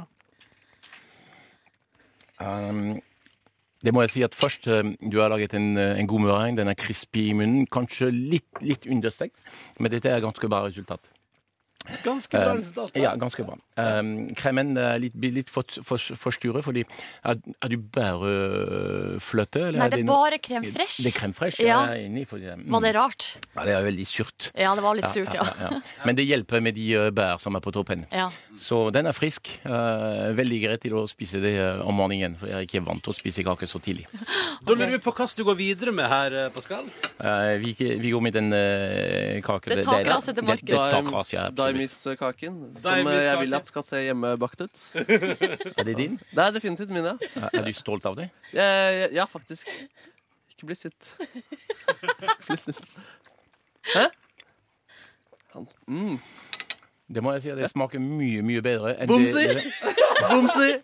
[SPEAKER 16] Um, det må jeg si at først, um, du har laget en, uh, en god meringue. Den er crispy i munnen. Kanskje litt, litt understekt, men dette er ganske bra resultat.
[SPEAKER 3] Ganske bra
[SPEAKER 16] Um,
[SPEAKER 3] resultat. da.
[SPEAKER 16] Ja, ganske bra. Um, kremen er litt, blir litt for, for, forstyrret, fordi er, er du bare uh, fløte? eller
[SPEAKER 4] Nei, det er
[SPEAKER 16] noe-
[SPEAKER 4] bare krem fresh.
[SPEAKER 16] Det er crème fraîche,
[SPEAKER 4] Ja.
[SPEAKER 16] jeg er enig. Fordi, mm,
[SPEAKER 4] Var det rart?
[SPEAKER 16] ja, det er veldig surt.
[SPEAKER 4] Ja, det var litt surt, ja.
[SPEAKER 16] ja. Men det hjelper med de uh, bær som er på toppen.
[SPEAKER 4] ja.
[SPEAKER 16] Så den er frisk. eh, veldig greit til å spise det eh, om morgenen, for jeg er ikke vant til å spise kake så tidlig.
[SPEAKER 3] Da lurer vi på hva du går videre med her, eh, Pascal.
[SPEAKER 16] Eh, vi, vi går med den eh, kake.
[SPEAKER 4] Det tar kraset til Markus.
[SPEAKER 16] Det, det tar kras, ja, absolutt.
[SPEAKER 6] Daimis-kaken, som
[SPEAKER 3] Daimis-kake.
[SPEAKER 6] eh, jeg vil at skal se hjemmebakt
[SPEAKER 5] [LAUGHS]
[SPEAKER 6] ut.
[SPEAKER 16] Er det din?
[SPEAKER 6] Det er definitivt min, ja.
[SPEAKER 16] Er, er du stolt av det?
[SPEAKER 6] Eh, Ja, faktisk. Ikke bli [LAUGHS] sitt. Ikke Bli sitt. Hæ? Han. Mm.
[SPEAKER 16] Det må jeg si, det smaker mye, mye bedre enn
[SPEAKER 6] Bomsi!
[SPEAKER 16] det. det-
[SPEAKER 6] Bomsi!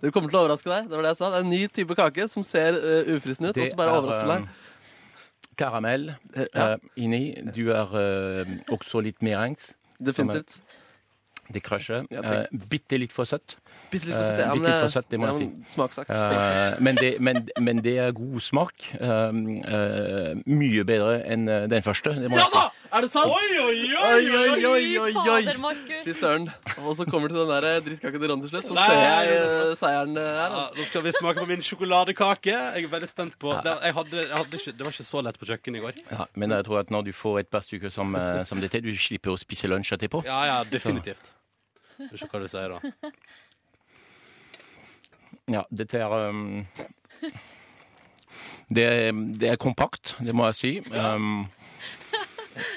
[SPEAKER 6] Du kommer til å overraske deg. Det var det jeg sa. Det er en ny type kake som ser eh, ufristende ut, og
[SPEAKER 16] det
[SPEAKER 6] så bare
[SPEAKER 16] er,
[SPEAKER 6] overrasker
[SPEAKER 16] eh,
[SPEAKER 6] deg.
[SPEAKER 16] Karamell eh,
[SPEAKER 6] Ja.
[SPEAKER 16] inni. Du er eh, også litt merengs.
[SPEAKER 6] Definitivt.
[SPEAKER 16] Det krasjer. Uh,
[SPEAKER 6] Ja, takk.
[SPEAKER 16] bitte litt for søtt.
[SPEAKER 6] Bitte litt for søtt.
[SPEAKER 16] eh,
[SPEAKER 6] Ja,
[SPEAKER 16] bitte
[SPEAKER 6] men,
[SPEAKER 16] litt for søtt, det må jeg
[SPEAKER 6] ja,
[SPEAKER 16] si.
[SPEAKER 6] men Smaksak.
[SPEAKER 16] Eh, men, det, men, men det er god smak. Um, eh, mye bedre enn eh, den første. Det må
[SPEAKER 6] Ja
[SPEAKER 16] jeg si.
[SPEAKER 6] da! Er det sant? Oi, oi, oi, oi, oi,
[SPEAKER 4] Fy fader, Markus.
[SPEAKER 6] Fy søren. Og så kommer til den der eh, drittkaken til Ron til slutt, så ser jeg eh, seieren eh, her.
[SPEAKER 3] Ja, nå skal vi smake på min sjokoladekake. Jeg er veldig spent på det, jeg hadde, jeg hadde ikke, det var ikke så lett på kjøkkenet i går.
[SPEAKER 16] Ja, men jeg tror at når du får et par stykker som, eh, som dette, du slipper å spise lunsj etterpå.
[SPEAKER 3] Ja, ja, definitivt. Du ser hva du sier, da.
[SPEAKER 16] Ja, dette er um, det, er- det er kompakt, det må jeg si. Um,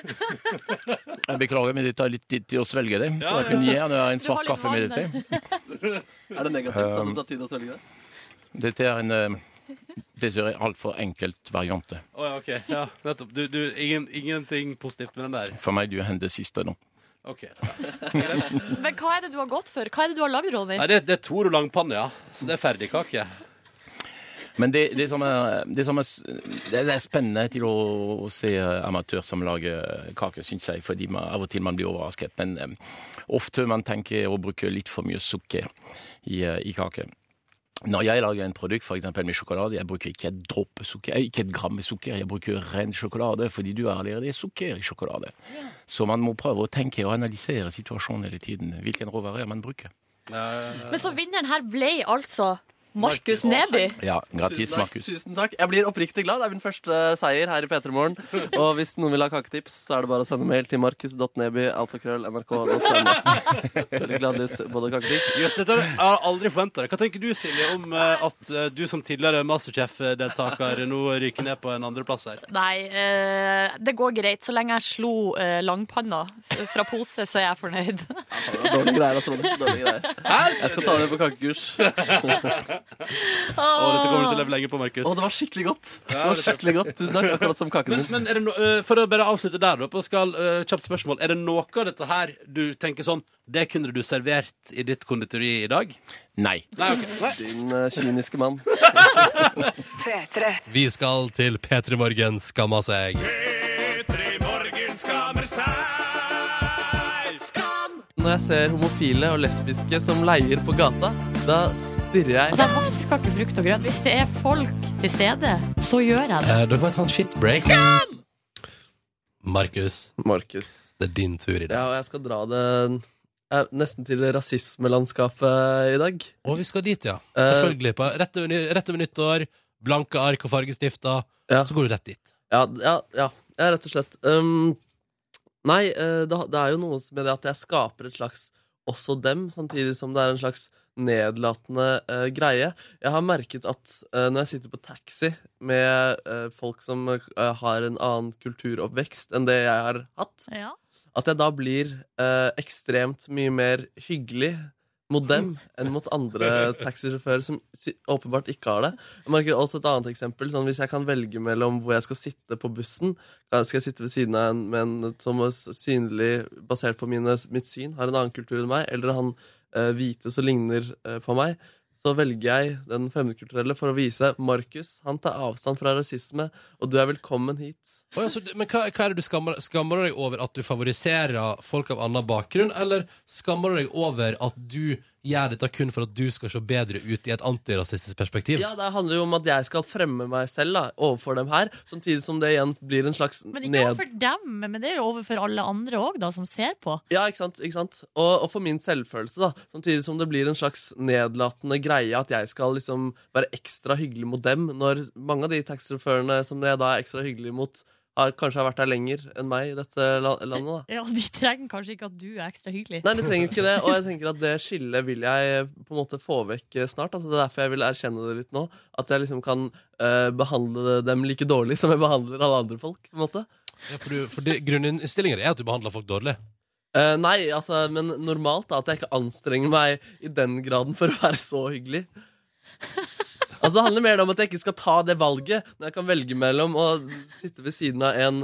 [SPEAKER 16] jeg beklager, men det tar litt tid til å svelge det. Så jeg kunne gjerne ha en
[SPEAKER 4] Du har
[SPEAKER 16] svart
[SPEAKER 4] litt
[SPEAKER 16] kaffe med
[SPEAKER 4] vann
[SPEAKER 16] dette.
[SPEAKER 4] [LAUGHS]
[SPEAKER 6] Er det negativt at
[SPEAKER 16] Um,
[SPEAKER 6] det tar tid å svelge det?
[SPEAKER 16] Dette er en eh, dessverre altfor enkelt variante.
[SPEAKER 3] Å, ja, ok. Ja, nettopp. Du, du, ingen, ingenting positivt med den der.
[SPEAKER 16] For meg du er det siste nå.
[SPEAKER 3] Ok.
[SPEAKER 4] Men hva er det du har gått for? Hva er det du har lagd, Ronny?
[SPEAKER 3] Nei, det, det er Toro langpanne, ja. Så det er ferdigkake.
[SPEAKER 16] Men det, det, som er, det, som er, s- det det er spennende til å, å se eh, amatør som lager kake, syns jeg. Fordi man, av og til man blir overrasket. Men eh, ofte man tenker å bruke litt for mye sukker i, eh, i kake. Når jeg lager en produkt for eksempel med sjokolade, jeg bruker ikke et dråpe sukker, eh, ikke et gram med sukker, jeg bruker ren sjokolade, fordi du er allerede sukker i sjokolade. Så man må prøve å tenke og analysere situasjonen hele tiden, hvilken råvarer man bruker.
[SPEAKER 4] Men så vinneren her ble altså Markus Neby.
[SPEAKER 16] Ja, gratis,
[SPEAKER 6] Tusen takk,
[SPEAKER 16] Markus.
[SPEAKER 6] Tusen takk. Jeg blir oppriktig glad. Det er min første eh, seier her i P3 Morgen. Og hvis noen vil ha kaketips, så er det bare å sende mail til markus.neby.alfakrøll.nrk.no.
[SPEAKER 3] [LAUGHS]
[SPEAKER 6] Veldig glad ut, både kaketips
[SPEAKER 3] Jøss, dette har jeg har aldri forventa det. Hva tenker du, Silje, om eh, at eh, du som tidligere Masterchef-deltaker nå ryker ned på en andreplass her?
[SPEAKER 4] Nei, eh, det går greit. Så lenge jeg slo eh, langpanna f- fra pose, så er jeg fornøyd.
[SPEAKER 6] Dårlige greier, altså. Ronny. Dårlige greier. Jeg skal ta det på
[SPEAKER 3] [LAUGHS]
[SPEAKER 6] kakekurs.
[SPEAKER 3] Å, dette kommer du til å leve lenge på, Markus.
[SPEAKER 6] Å, det var skikkelig godt. Det var skikkelig godt. Tusen takk. Akkurat som kaken
[SPEAKER 3] Men,
[SPEAKER 6] din.
[SPEAKER 3] men er det no, eh, for å bare avslutte der, da, på skal, eh, kjapt spørsmål. Er det noe av dette her du tenker sånn Det kunne du servert i ditt konditori i dag?
[SPEAKER 16] Nei.
[SPEAKER 3] Nei, ok.
[SPEAKER 6] Din eh, kyniske mann.
[SPEAKER 3] Vi skal til P3 Morgen skamma seg.
[SPEAKER 6] Når jeg ser homofile og lesbiske som leier på gata, da stirrer
[SPEAKER 4] Altså,
[SPEAKER 6] jeg
[SPEAKER 4] jeg vasker ikke frukt og grønt. Hvis det er folk til stede, så gjør jeg det.
[SPEAKER 3] Eh, dere må ta en shitbreak. Markus,
[SPEAKER 6] Markus.
[SPEAKER 3] det er din tur i
[SPEAKER 6] Ja,
[SPEAKER 3] dag.
[SPEAKER 6] og jeg skal dra det eh, nesten til rasismelandskapet i dag.
[SPEAKER 3] Og vi skal dit, ja.
[SPEAKER 6] Eh,
[SPEAKER 3] Selvfølgelig. På, rett, over, ny- rett over nyttår, blanke ark og fargestifter.
[SPEAKER 6] Ja.
[SPEAKER 3] Så går du rett dit.
[SPEAKER 6] Ja, d- ja, ja, ja rett og slett. Um, nei, eh, det, det er jo noe med det at jeg skaper et slags også dem, samtidig som det er en slags nedlatende eh, greie. Jeg har merket at eh, når jeg sitter på taxi med eh, folk som eh, har en annen kulturoppvekst enn det jeg har hatt,
[SPEAKER 4] Ja.
[SPEAKER 6] at jeg da blir eh, ekstremt mye mer hyggelig mot dem enn mot andre taxisjåfører som sy- åpenbart ikke har det. Jeg merker også et annet eksempel. Sånn, hvis jeg kan velge mellom hvor jeg skal sitte på bussen eh, Skal jeg sitte ved siden av en med en som er s- synlig, basert på mine, mitt syn, har en annen kultur enn meg, eller han eh, hvite som ligner eh, på meg, så velger jeg den fremmedkulturelle for å vise Markus, han tar avstand fra rasisme, og du er velkommen hit.
[SPEAKER 3] Oi, altså, du- men hva, hva er det du skammer, skammer du deg over? At du favoriserer folk av annen bakgrunn? Eller skammer du deg over at du gjør dette kun for at du skal se bedre ut i et antirasistisk perspektiv?
[SPEAKER 6] Ja, det handler jo om at jeg skal fremme meg selv da, overfor dem her, samtidig som det igjen blir en slags
[SPEAKER 4] Men ikke
[SPEAKER 6] ned...
[SPEAKER 4] overfor dem, men det er jo overfor alle andre òg, da, som ser på.
[SPEAKER 6] Ja, ikke sant, ikke sant? Og, og for min selvfølelse, da. Samtidig som det blir en slags nedlatende greie at jeg skal liksom være ekstra hyggelig mot dem, når mange av de taxisjåførene som jeg da er ekstra hyggelig mot, har, kanskje har vært her lenger enn meg i dette la- landet, da.
[SPEAKER 4] Ja, De trenger kanskje ikke at du er ekstra hyggelig.
[SPEAKER 6] Nei, de trenger ikke det, og
[SPEAKER 4] [LAUGHS]
[SPEAKER 6] jeg tenker at det skillet vil jeg på en måte få vekk eh, snart. Altså, det er derfor jeg vil erkjenne det litt nå. At jeg liksom kan eh, behandle dem like dårlig som jeg behandler alle andre folk. på en måte.
[SPEAKER 3] Ja, for du, for det- Grunninnstillinga er at du behandler folk dårlig.
[SPEAKER 6] Eh, nei, altså, men normalt da, at jeg ikke anstrenger meg i den graden for å være så hyggelig. Altså, Det handler mer om at jeg ikke skal ta det valget når jeg kan velge mellom å sitte ved siden av en,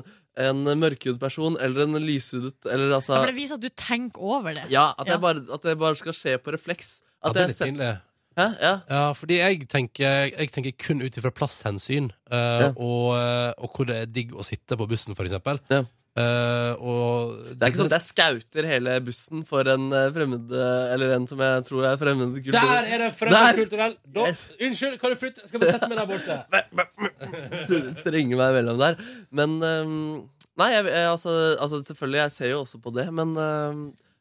[SPEAKER 6] en mørkhudet person eller en lyshudet eller
[SPEAKER 4] Ja,
[SPEAKER 6] altså...
[SPEAKER 4] For det viser at du tenker over det.
[SPEAKER 6] Ja, at,
[SPEAKER 4] Ja.
[SPEAKER 6] Jeg bare, at det bare skal skje på refleks.
[SPEAKER 3] Ja,
[SPEAKER 6] At
[SPEAKER 3] det er
[SPEAKER 6] jeg
[SPEAKER 3] litt
[SPEAKER 6] ser-
[SPEAKER 3] pinlig.
[SPEAKER 6] Hæ? Ja.
[SPEAKER 3] Ja, fordi jeg tenker, jeg tenker kun ut ifra plasshensyn, eh,
[SPEAKER 6] Ja.
[SPEAKER 3] og, eh, og hvor det er digg å sitte på bussen, for eksempel.
[SPEAKER 6] Ja.
[SPEAKER 3] Eh, og
[SPEAKER 6] Det er ikke sånn at jeg skauter hele bussen for en eh, fremmed eh, Eller en som jeg tror er fremmed kultur.
[SPEAKER 3] Der er det fremmed kulturell! Da, unnskyld, kan du flytte? Skal vi sette meg der
[SPEAKER 6] [LAUGHS]
[SPEAKER 3] borte?
[SPEAKER 6] Tr- [LAUGHS] Trenger meg mellom der. Men ehm, Nei, jeg, jeg, altså, altså selvfølgelig, jeg ser jo også på det, men ehm,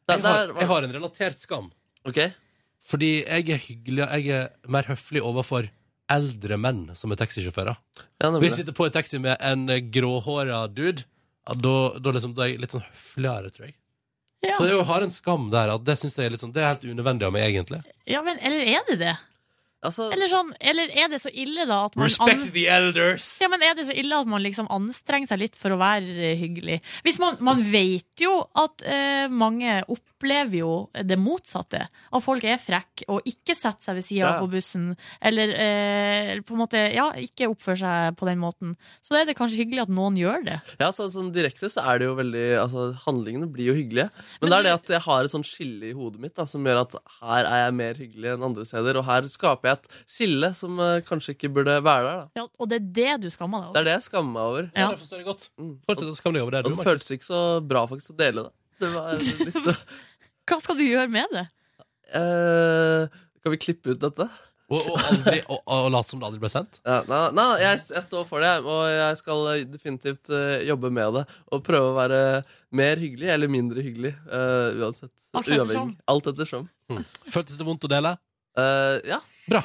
[SPEAKER 6] det,
[SPEAKER 3] Jeg
[SPEAKER 6] det
[SPEAKER 3] har,
[SPEAKER 6] er-
[SPEAKER 3] jeg har en relatert skam.
[SPEAKER 6] Ok.
[SPEAKER 3] Fordi jeg er hyggelig, jeg er mer høflig overfor eldre menn som er taxisjåfører.
[SPEAKER 6] Ja, nemlig.
[SPEAKER 3] Hvis jeg sitter på en taxi med en eh, gråhåra dude, ja, da, da, liksom, da er jeg litt sånn høfligere, tror jeg.
[SPEAKER 4] Ja.
[SPEAKER 3] Så jeg har en skam der. At det synes jeg er litt sånn, det er helt unødvendig av meg, egentlig.
[SPEAKER 4] Ja, men Eller er det det?
[SPEAKER 6] Altså,
[SPEAKER 4] Eller, sånn, eller er det så ille, da, at man an-
[SPEAKER 3] Respect the elders!
[SPEAKER 4] Ja, men Er det så ille at man liksom anstrenger seg litt for å være eh, hyggelig? Hvis Man, man vet jo at eh, mange opplever jo det motsatte. At folk er frekke og ikke setter seg ved sida av
[SPEAKER 6] Ja.
[SPEAKER 4] på bussen. Eller eh, på en måte, ja, ikke oppfører seg på den måten. Så da er det kanskje hyggelig at noen gjør det.
[SPEAKER 6] ja, så, sånn direkte så er det jo veldig Altså, handlingene blir jo hyggelige. Men, det er det at jeg har et sånn skille i hodet mitt da, som gjør at her er jeg mer hyggelig enn andre steder, og her skaper jeg et skille som eh, kanskje ikke burde være der. da
[SPEAKER 4] Ja, og det er det du skammer deg
[SPEAKER 6] Det
[SPEAKER 4] over.
[SPEAKER 6] er det jeg skammer meg over.
[SPEAKER 4] Ja.
[SPEAKER 3] Det forstår jeg godt.
[SPEAKER 6] Mm.
[SPEAKER 3] Fortsett å skamme deg over det,
[SPEAKER 6] Og
[SPEAKER 3] du,
[SPEAKER 6] det
[SPEAKER 3] Markus.
[SPEAKER 6] føltes ikke så bra faktisk å dele det. det var litt,
[SPEAKER 4] [LAUGHS] Hva skal du gjøre med det?
[SPEAKER 6] eh, kan vi klippe ut dette?
[SPEAKER 7] Og, og, aldri, og, og late som det aldri ble sendt?
[SPEAKER 6] Ja, nei, nei, jeg, jeg står for det, og jeg skal definitivt eh, jobbe med det. Og prøve å være mer hyggelig eller mindre hyggelig. eh, uansett.
[SPEAKER 7] Alt ettersom.
[SPEAKER 6] Uavhengig. Alt ettersom.
[SPEAKER 7] Hm.
[SPEAKER 6] Eh,
[SPEAKER 7] Føltes det vondt å dele?
[SPEAKER 6] ja.
[SPEAKER 7] Bra.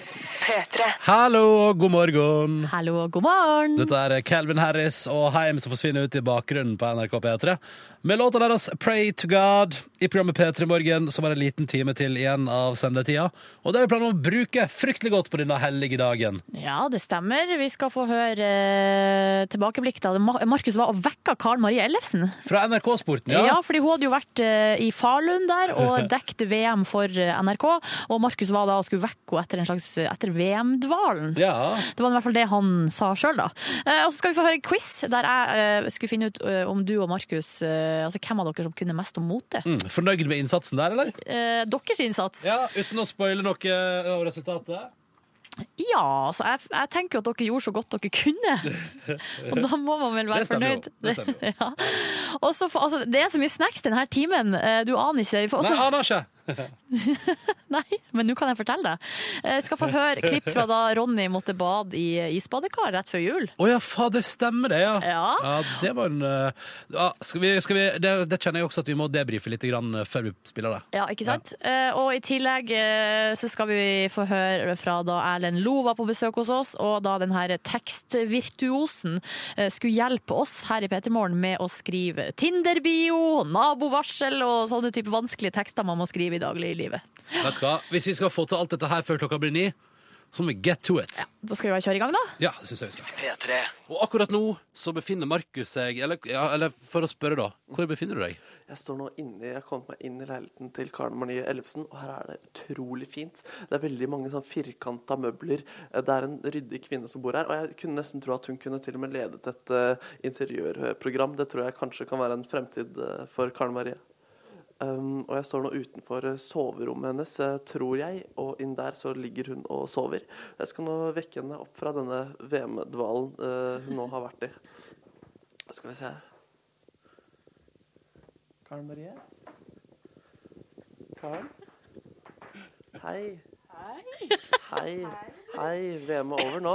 [SPEAKER 7] Hallo og god morgen.
[SPEAKER 4] Hallo og god morgen.
[SPEAKER 7] Dette er Calvin Harris og Heim som forsvinner ut i bakgrunnen på NRK P3. Med låta deres Pray to God i programmet P3 Morgen, som er en liten time til igjen av sendetida. Og det har vi planer om å bruke fryktelig godt på denne hellige dagen.
[SPEAKER 4] Ja, det stemmer. Vi skal få høre eh, tilbakeblikk da Ma- Markus var og vekka Karen Marie Ellefsen.
[SPEAKER 7] Fra NRK-sporten,
[SPEAKER 4] Ja.
[SPEAKER 7] ja.
[SPEAKER 4] fordi hun hadde jo vært eh, i Falun der og dekket VM for eh, NRK. Og Markus var da og skulle vekke henne etter en slags etter VM-dvalen. Det var i hvert fall det han sa sjøl, da. Eh, Og så skal vi få høre en quiz der jeg eh, skulle finne ut eh, om du og Markus eh, Altså hvem av dere som kunne mest om mote.
[SPEAKER 7] Mm, fornøyd med innsatsen der, eller?
[SPEAKER 4] Eh, Deres innsats.
[SPEAKER 7] Ja, uten å spoile noe av resultatet.
[SPEAKER 4] Ja, altså jeg, jeg tenker jo at dere gjorde så godt dere kunne. Og da må man vel være
[SPEAKER 17] Det stemmer jo.
[SPEAKER 4] fornøyd. Det, [LAUGHS] ja. Og så får- altså, det er så mye snacks denne timen. eh, Du aner ikke. Vi får også-
[SPEAKER 7] Nei, aner ikke!
[SPEAKER 4] Nei, [LAUGHS] men nå kan jeg fortelle deg. Jeg skal få høre klipp fra da Ronny måtte bade i isbadekar rett før jul.
[SPEAKER 7] Å ja, fader, stemmer det, ja.
[SPEAKER 4] Ja.
[SPEAKER 7] det var en eh, ja, skal vi, skal vi, det, det kjenner jeg også at vi må debrife litt grann eh, før vi spiller det.
[SPEAKER 4] Ja, ikke sant? Eh, Og i tillegg eh, så skal vi få høre fra da Erlend Lo var på besøk hos oss, og da den her tekstvirtuosen eh, skulle hjelpe oss her i Petermorgen med å skrive Tinder-bio, nabovarsel og sånne type vanskelige tekster man må skrive i dagliglivet.
[SPEAKER 7] Vet du hva? Hvis vi skal få til alt dette her før klokka blir ni, så må vi get to it.
[SPEAKER 4] Da skal vi bare kjøre i gang, da.
[SPEAKER 7] Ja, det synes jeg vi skal.
[SPEAKER 8] P3.
[SPEAKER 3] Og akkurat nå så befinner Markus seg eller, ja, eller for å spørre, da. Hvor befinner du deg?
[SPEAKER 6] Jeg står nå inne, jeg har kommet meg inn i leiligheten til Karen Marie Ellefsen, og her er det utrolig fint. Det er veldig mange sånn firkanta møbler. Eh, Det er en ryddig kvinne som bor her, og jeg kunne nesten tro at hun kunne til og med ledet et eh, interiørprogram. Det tror jeg kanskje kan være en fremtid eh, for Karen Marie. Um, og jeg står nå utenfor eh, soverommet hennes, eh, tror jeg, og inn der så ligger hun og sover. Jeg skal nå vekke henne opp fra denne VM-dvalen eh, hun nå har vært i. Skal vi se. Karen Marie? Karen? Hei.
[SPEAKER 18] Hei.
[SPEAKER 6] Hei. Hei. VM er over nå.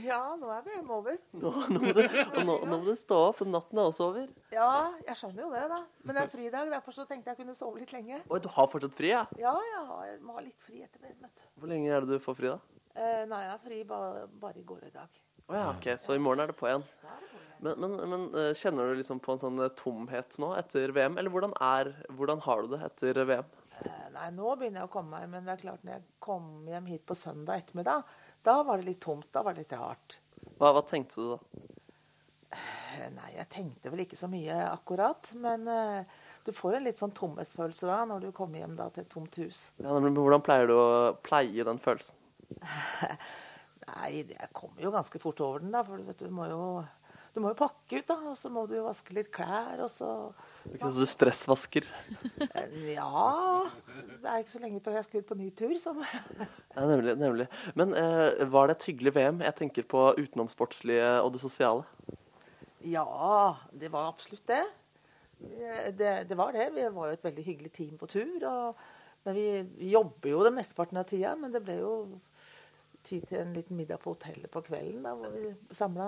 [SPEAKER 18] Ja, nå er VM over.
[SPEAKER 6] Nå, nå, må, du, og nå, nå må du stå opp, for natten er også over.
[SPEAKER 18] Ja, jeg skjønner jo det, da. Men det er fridag, derfor så tenkte jeg kunne sove litt lenge.
[SPEAKER 6] Oi, du har fortsatt fri, ja?
[SPEAKER 18] Ja, jeg, har, jeg må ha litt fri etter det. Vet du.
[SPEAKER 6] Hvor lenge er det du får fri, da?
[SPEAKER 18] Eh, nei, jeg har fri bare, bare i går og i dag.
[SPEAKER 6] Å ja, ok, så i morgen er det på igjen. Men, men, men eh, kjenner du liksom på en sånn eh, tomhet nå etter VM? Eller hvordan, er, hvordan har du det etter VM?
[SPEAKER 18] Eh, nei, nå begynner jeg å komme meg, men det er klart når jeg kom hjem hit på søndag ettermiddag, da var det litt tomt. Da var det litt hardt.
[SPEAKER 6] Hva, hva tenkte du da?
[SPEAKER 18] Eh, Nei, jeg tenkte vel ikke så mye akkurat, men eh, du får en litt sånn tomhetsfølelse da når du kommer hjem da til et tomt hus.
[SPEAKER 6] Ja, men hvordan pleier du å pleie den følelsen?
[SPEAKER 18] Nei, det- jeg kommer jo ganske fort over den, da. For du, vet, du, må jo, du må jo pakke ut, da. Og så må du jo vaske litt klær, og så eh,
[SPEAKER 6] Det er ikke sånn at du stressvasker?
[SPEAKER 18] Ja Det er ikke så lenge før jeg skal ut på ny tur, så
[SPEAKER 6] Ja, nemlig, nemlig. Men eh, var det et hyggelig VM? Jeg tenker på utenomsportslige og det sosiale.
[SPEAKER 18] Ja, det var absolutt det. Eh, Det, det var det. Vi var jo et veldig hyggelig team på tur. Og, men vi, vi jobber jo den mesteparten av tida, men det ble jo tid til en liten middag på hotellet på kvelden, da, hvor vi samla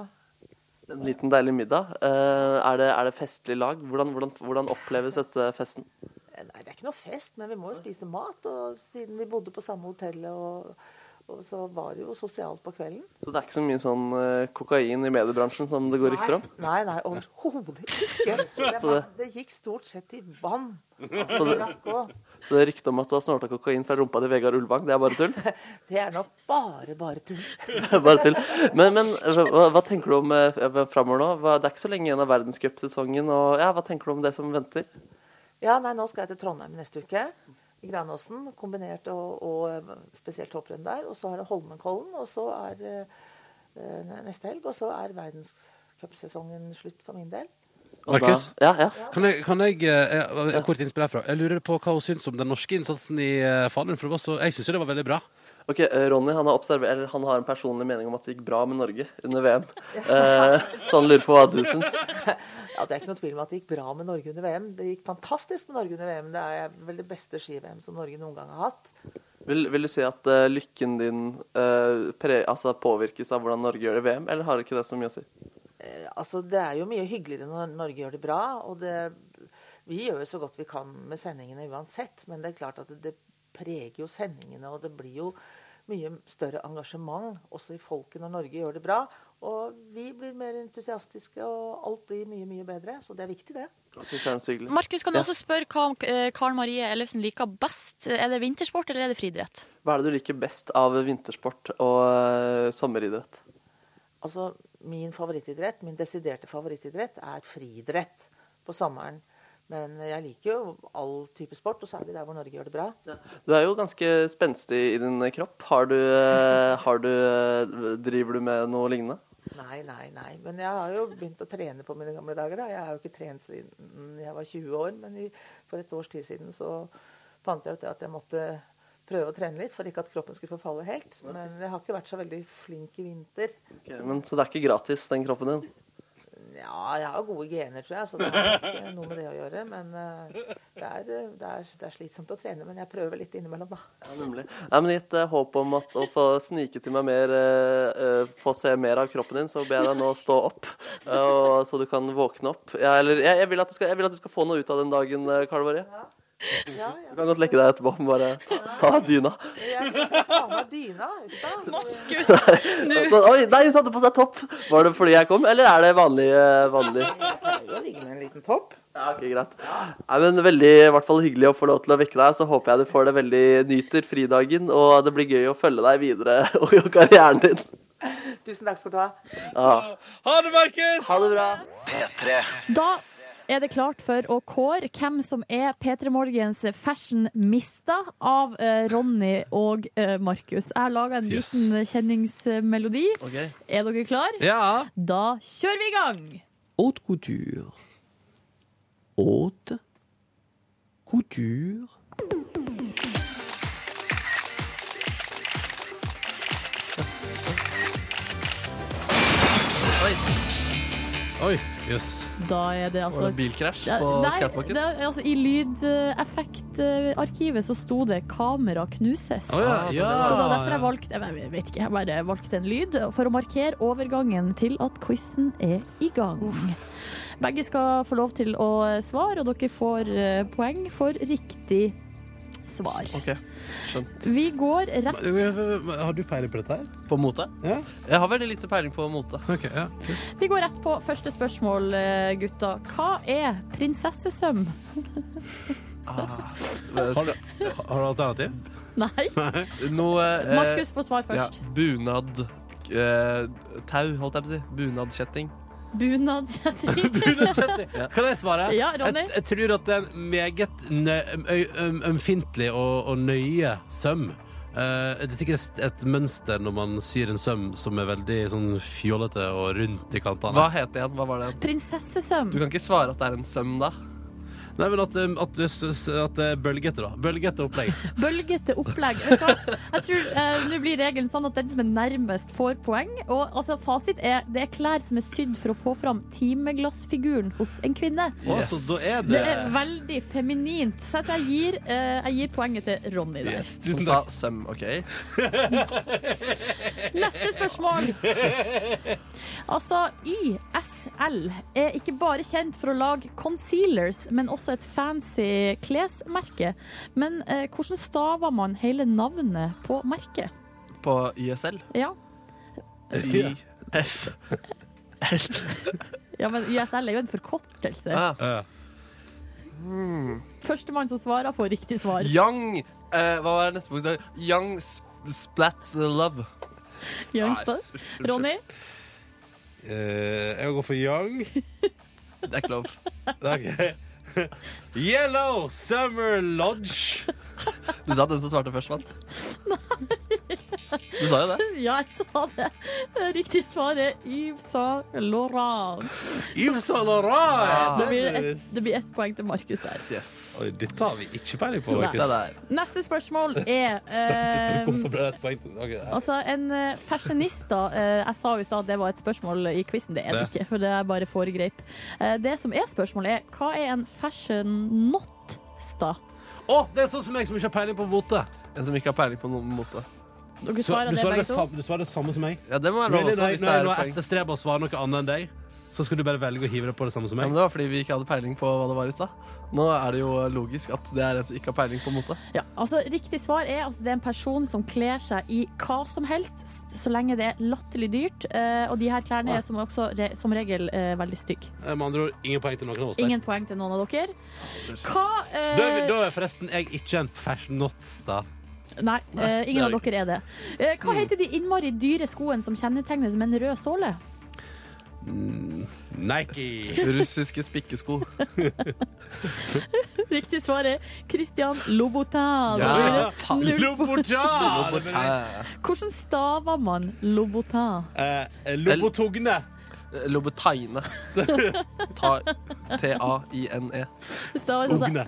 [SPEAKER 6] En liten deilig middag. Eh, er, det, er det festlig lag? Hvordan, hvordan, hvordan oppleves dette festen?
[SPEAKER 18] Eh, Nei, det er ikke noe fest, men vi må jo spise mat. Og siden vi bodde på samme hotellet, og, og så var det jo sosialt på kvelden.
[SPEAKER 6] Så det er ikke så mye sånn eh, kokain i mediebransjen som det går rykter om?
[SPEAKER 18] Nei, nei, overhodet ikke. Det,
[SPEAKER 6] [LAUGHS] Så det-
[SPEAKER 18] det gikk stort sett i vann.
[SPEAKER 6] Så det-
[SPEAKER 18] Drakk også.
[SPEAKER 6] Så det er rykte om at du har snorta kokain fra rumpa til Vegard Ulvang, det er bare tull?
[SPEAKER 18] Det er nok bare, bare tull.
[SPEAKER 6] [LAUGHS] bare tull. Men, men hva, hva tenker du om uh, framover nå? Hva, det er ikke så lenge igjen av verdenscupsesongen. og Ja, hva tenker du om det som venter?
[SPEAKER 18] Ja, nei, nå skal jeg til Trondheim neste uke. I Granåsen, kombinert og, og spesielt hopprenn der. Og så er det Holmenkollen, og så er det eh, neste helg. Og så er verdenscupsesongen slutt for min del.
[SPEAKER 6] Og da-
[SPEAKER 3] Markus?
[SPEAKER 6] Ja, ja.
[SPEAKER 3] Kan jeg, kan jeg, eh, jeg, jeg kort innspill herfra? Jeg lurer på hva hun syns om den norske innsatsen i eh, Falun. For det var så, jeg syns jo det var veldig bra.
[SPEAKER 6] Ok, eh, Ronny han har, observer- eller han har en personlig mening om at det gikk bra med Norge under VM. Eh, så han lurer på hva du syns.
[SPEAKER 18] Ja, Det er ikke noe tvil om at det gikk bra med Norge under VM. Det gikk fantastisk med Norge under VM. Det er vel det beste ski-VM som Norge noen gang har hatt.
[SPEAKER 6] Vil, vil du si at eh, lykken din eh, pre, altså påvirkes av hvordan Norge gjør det i VM, eller har ikke det så mye å si?
[SPEAKER 18] Eh, Altså, det er jo mye hyggeligere når Norge gjør det bra. Og det, vi gjør jo så godt vi kan med sendingene uansett. Men det er klart at det, det preger jo sendingene, og det blir jo mye større engasjement også i folket når Norge gjør det bra. Og vi blir mer entusiastiske, og alt blir mye, mye bedre. Så det er viktig, det.
[SPEAKER 6] Fy søren, så hyggelig.
[SPEAKER 4] Markus, kan du
[SPEAKER 6] Ja.
[SPEAKER 4] også spørre hva eh, Karen Marie Ellefsen liker best? Er det vintersport eller er det friidrett?
[SPEAKER 6] Hva er det du liker best av vintersport og eh, sommeridrett?
[SPEAKER 18] Altså, min favorittidrett, min desiderte favorittidrett, er friidrett på sommeren. Men jeg liker jo all type sport, og særlig der hvor Norge gjør det bra.
[SPEAKER 6] Du er jo ganske spenstig i din kropp. Har du, eh, har du eh, Driver du med noe lignende?
[SPEAKER 18] Nei, nei, nei. Men jeg har jo begynt å trene på mine gamle dager. da. Jeg har jo ikke trent siden jeg var 20 år, men i, for et års tid siden så fant jeg ut at jeg måtte prøve å trene litt for ikke at kroppen skulle forfalle helt. Men jeg har ikke vært så veldig flink i vinter.
[SPEAKER 6] Ok, Men, så det er ikke gratis, den kroppen din?
[SPEAKER 18] Ja, jeg har gode gener, tror jeg, så det har ikke noe med det å gjøre. Men eh, det, er, eh, det, er, det er slitsomt å trene, men jeg prøver litt innimellom, da.
[SPEAKER 6] Nemlig. Nei, men Gitt eh, håp om at å få snike til meg mer, eh, eh, få se mer av kroppen din, så ber jeg deg nå stå opp, eh, og, så du kan våkne opp. Ja, eller, jeg, jeg, vil at du skal, jeg vil at du skal få noe ut av den dagen, eh, Karl Marie. Du kan godt lekke deg etterpå. men Bare ta, ta dyna.
[SPEAKER 18] Jeg skal ta av meg dyna. ikke sant? [LAUGHS]
[SPEAKER 4] Markus!
[SPEAKER 6] Så- [LAUGHS] Oi, nei, hun hadde på seg topp! Var det fordi jeg kom, eller er det vanlig? eh, vanlig?
[SPEAKER 18] Jeg pleier jo å ligge med en liten topp.
[SPEAKER 6] Ja, ok, greit. Nei, men veldig, i hvert fall hyggelig å få lov til å vekke deg. Så håper jeg du får det veldig nyter fridagen, og det blir gøy å følge deg videre [LAUGHS] og og karrieren din.
[SPEAKER 18] Tusen takk skal du ha.
[SPEAKER 6] Ja.
[SPEAKER 3] Ha det, Markus!
[SPEAKER 6] Ha det bra.
[SPEAKER 8] P3.
[SPEAKER 4] Da er det klart for å kåre hvem som er P3 Morgens fashionista av eh, Ronny og eh, Markus. Jeg har laga en
[SPEAKER 7] Yes.
[SPEAKER 4] liten kjenningsmelodi.
[SPEAKER 7] Ok.
[SPEAKER 4] Er dere klar?
[SPEAKER 7] Ja.
[SPEAKER 4] Da kjører vi i gang!
[SPEAKER 17] Haute couture. Haute couture.
[SPEAKER 7] Oi, jøss.
[SPEAKER 4] Da er det altså
[SPEAKER 7] Var det bilkrasj
[SPEAKER 4] Ja,
[SPEAKER 7] på
[SPEAKER 4] nei,
[SPEAKER 7] Catwalken?
[SPEAKER 4] det er- altså, I lydeffektarkivet så sto det 'kamera knuses'.
[SPEAKER 7] Å ja, ja,
[SPEAKER 4] så det er derfor jeg
[SPEAKER 7] ja.
[SPEAKER 4] valgte jeg, jeg vet ikke, jeg bare valgte en lyd for å markere overgangen til at quizen er i gang. Begge skal få lov til å svare, og dere får eh, poeng for riktig svar.
[SPEAKER 6] Ok, skjønt.
[SPEAKER 4] Vi går rett
[SPEAKER 7] Har du peiling på dette her?
[SPEAKER 6] På mote?
[SPEAKER 7] Ja.
[SPEAKER 6] Jeg har veldig lite peiling på mote.
[SPEAKER 7] Ok, ja.
[SPEAKER 4] Vi går rett på første spørsmål, eh, gutta. Hva er prinsessesøm?
[SPEAKER 7] Har du, har du alternativ?
[SPEAKER 4] Nei.
[SPEAKER 6] Noe eh,
[SPEAKER 4] Markus får svar først.
[SPEAKER 6] Ja, bunad eh, Tau, holdt jeg på å si. Bunadkjetting.
[SPEAKER 4] Bunadskjetting.
[SPEAKER 3] Kan jeg svare?
[SPEAKER 4] Ja, Ronny.
[SPEAKER 3] Jeg, jeg tror at det er en meget nø- ø- ø- ømfintlig og, og nøye søm. Eh, det er sikkert et mønster når man syr en søm som er veldig sånn fjollete og rundt i kantene.
[SPEAKER 6] Hva het det igjen? Hva var det? igjen?
[SPEAKER 4] Prinsessesøm.
[SPEAKER 6] Du kan ikke svare at det er en søm, da.
[SPEAKER 3] Nei, men at, um, at, du s- s- at det er bølgete, da. Bølgete opplegg.
[SPEAKER 4] Bølgete opplegg. Vet du hva? Jeg tror eh, Nå blir regelen sånn at den som er nærmest, får poeng. Og altså, fasit er det er klær som er sydd for å få fram timeglassfiguren hos en kvinne.
[SPEAKER 3] Å, så da er det-
[SPEAKER 4] Det er veldig feminint. Så jeg, tror jeg, gir, eh, jeg gir poenget til Ronny der.
[SPEAKER 6] Hun sa søm, OK.
[SPEAKER 4] Neste spørsmål. Altså, YSL er ikke bare kjent for å lage concealers, men også et fancy klesmerke. Men eh, hvordan staver man hele navnet på merket?
[SPEAKER 6] På YSL.
[SPEAKER 4] Ja.
[SPEAKER 6] YS.
[SPEAKER 4] ja, men YSL er jo en forkortelse.
[SPEAKER 6] Ah.
[SPEAKER 4] Førstemann som svarer, får riktig svar.
[SPEAKER 6] Young eh, Hva var neste bokstav? Young sp Splat Love.
[SPEAKER 4] Young
[SPEAKER 6] Nei,
[SPEAKER 4] Spud.
[SPEAKER 6] s- unnskyld.
[SPEAKER 4] Ronny?
[SPEAKER 3] [LAUGHS] Eh, jeg går
[SPEAKER 6] [LAUGHS]
[SPEAKER 3] for young.
[SPEAKER 6] Det er ikke lov.
[SPEAKER 3] Ok. Yellow Summer Lodge.
[SPEAKER 6] Du sa at den som svarte først, vant. Du sa jo det.
[SPEAKER 4] Ja, jeg sa det. Riktig svar er Yves Saint Laurent.
[SPEAKER 3] Yves Saint Laurent!
[SPEAKER 4] Det blir ett det blir ett poeng til Markus der.
[SPEAKER 3] Oi, dette har vi ikke peiling på.
[SPEAKER 4] Nei.
[SPEAKER 3] Markus.
[SPEAKER 4] Det
[SPEAKER 3] [LAUGHS]
[SPEAKER 4] der. Neste spørsmål
[SPEAKER 7] [LAUGHS]
[SPEAKER 4] er eh,
[SPEAKER 3] Hvorfor ble det et poeng? til- Ok, ja.
[SPEAKER 4] Altså, en eh, fashionista eh, Jeg sa jo i stad at det var et spørsmål i quizen. Det er det
[SPEAKER 3] Det.
[SPEAKER 4] ikke, for det er bare foregreip. Eh, Det som er spørsmålet, er hva er en fashion not-sta?
[SPEAKER 3] Å, det er sånn som meg som ikke har peiling på mote.
[SPEAKER 6] En som ikke har peiling på noen måte.
[SPEAKER 4] Dere
[SPEAKER 7] Svar-
[SPEAKER 4] svarer
[SPEAKER 7] Du
[SPEAKER 4] det
[SPEAKER 7] svarer
[SPEAKER 4] begge
[SPEAKER 7] det,
[SPEAKER 4] to?
[SPEAKER 7] samme, du svarer det samme som meg.
[SPEAKER 6] Ja, det må være lov
[SPEAKER 7] Really,
[SPEAKER 6] også,
[SPEAKER 7] når jeg-
[SPEAKER 6] hvis det
[SPEAKER 7] når jeg
[SPEAKER 6] er
[SPEAKER 7] nå
[SPEAKER 6] poeng.
[SPEAKER 7] etterstreber å svare noe annet enn deg, så skal du bare velge å hive deg på det samme som
[SPEAKER 6] Ja,
[SPEAKER 7] meg.
[SPEAKER 6] men det var fordi vi ikke hadde peiling på hva det var i stad. Nå er det jo logisk at det er en som ikke har peiling på mote.
[SPEAKER 4] Altså, riktig svar er at det er en person som kler seg i hva som helst, s- så lenge det er latterlig dyrt. eh, Og de her klærne er som, også, re- som regel eh, veldig stygge.
[SPEAKER 7] Eh, Med andre ord, ingen poeng til noen av oss der.
[SPEAKER 4] Ingen poeng til noen av dere. Hva eh,
[SPEAKER 7] Da er, da er forresten jeg ikke en fashion not, da.
[SPEAKER 4] Nei,
[SPEAKER 7] Nei,
[SPEAKER 4] eh, ingen
[SPEAKER 7] det er
[SPEAKER 4] av dere er det. Eh,
[SPEAKER 6] Mm.
[SPEAKER 4] Hva heter de innmari dyre skoene som kjennetegnes med en rød såle? [LAUGHS]
[SPEAKER 7] Mm, Nike.
[SPEAKER 6] Russiske
[SPEAKER 4] [LAUGHS]
[SPEAKER 6] spikkesko.
[SPEAKER 4] Riktig svar er Christian Lobotin.
[SPEAKER 6] Ja,
[SPEAKER 4] Det er
[SPEAKER 6] faen.
[SPEAKER 4] null po-
[SPEAKER 7] Lobotin!
[SPEAKER 4] Hvordan staver man Lobotin?
[SPEAKER 6] [LAUGHS]
[SPEAKER 7] Eh, Lobotogne. [LAUGHS]
[SPEAKER 6] Loboteine. Eh, Ta- T-a-i-n-e.
[SPEAKER 4] Det staves altså
[SPEAKER 6] Ogne.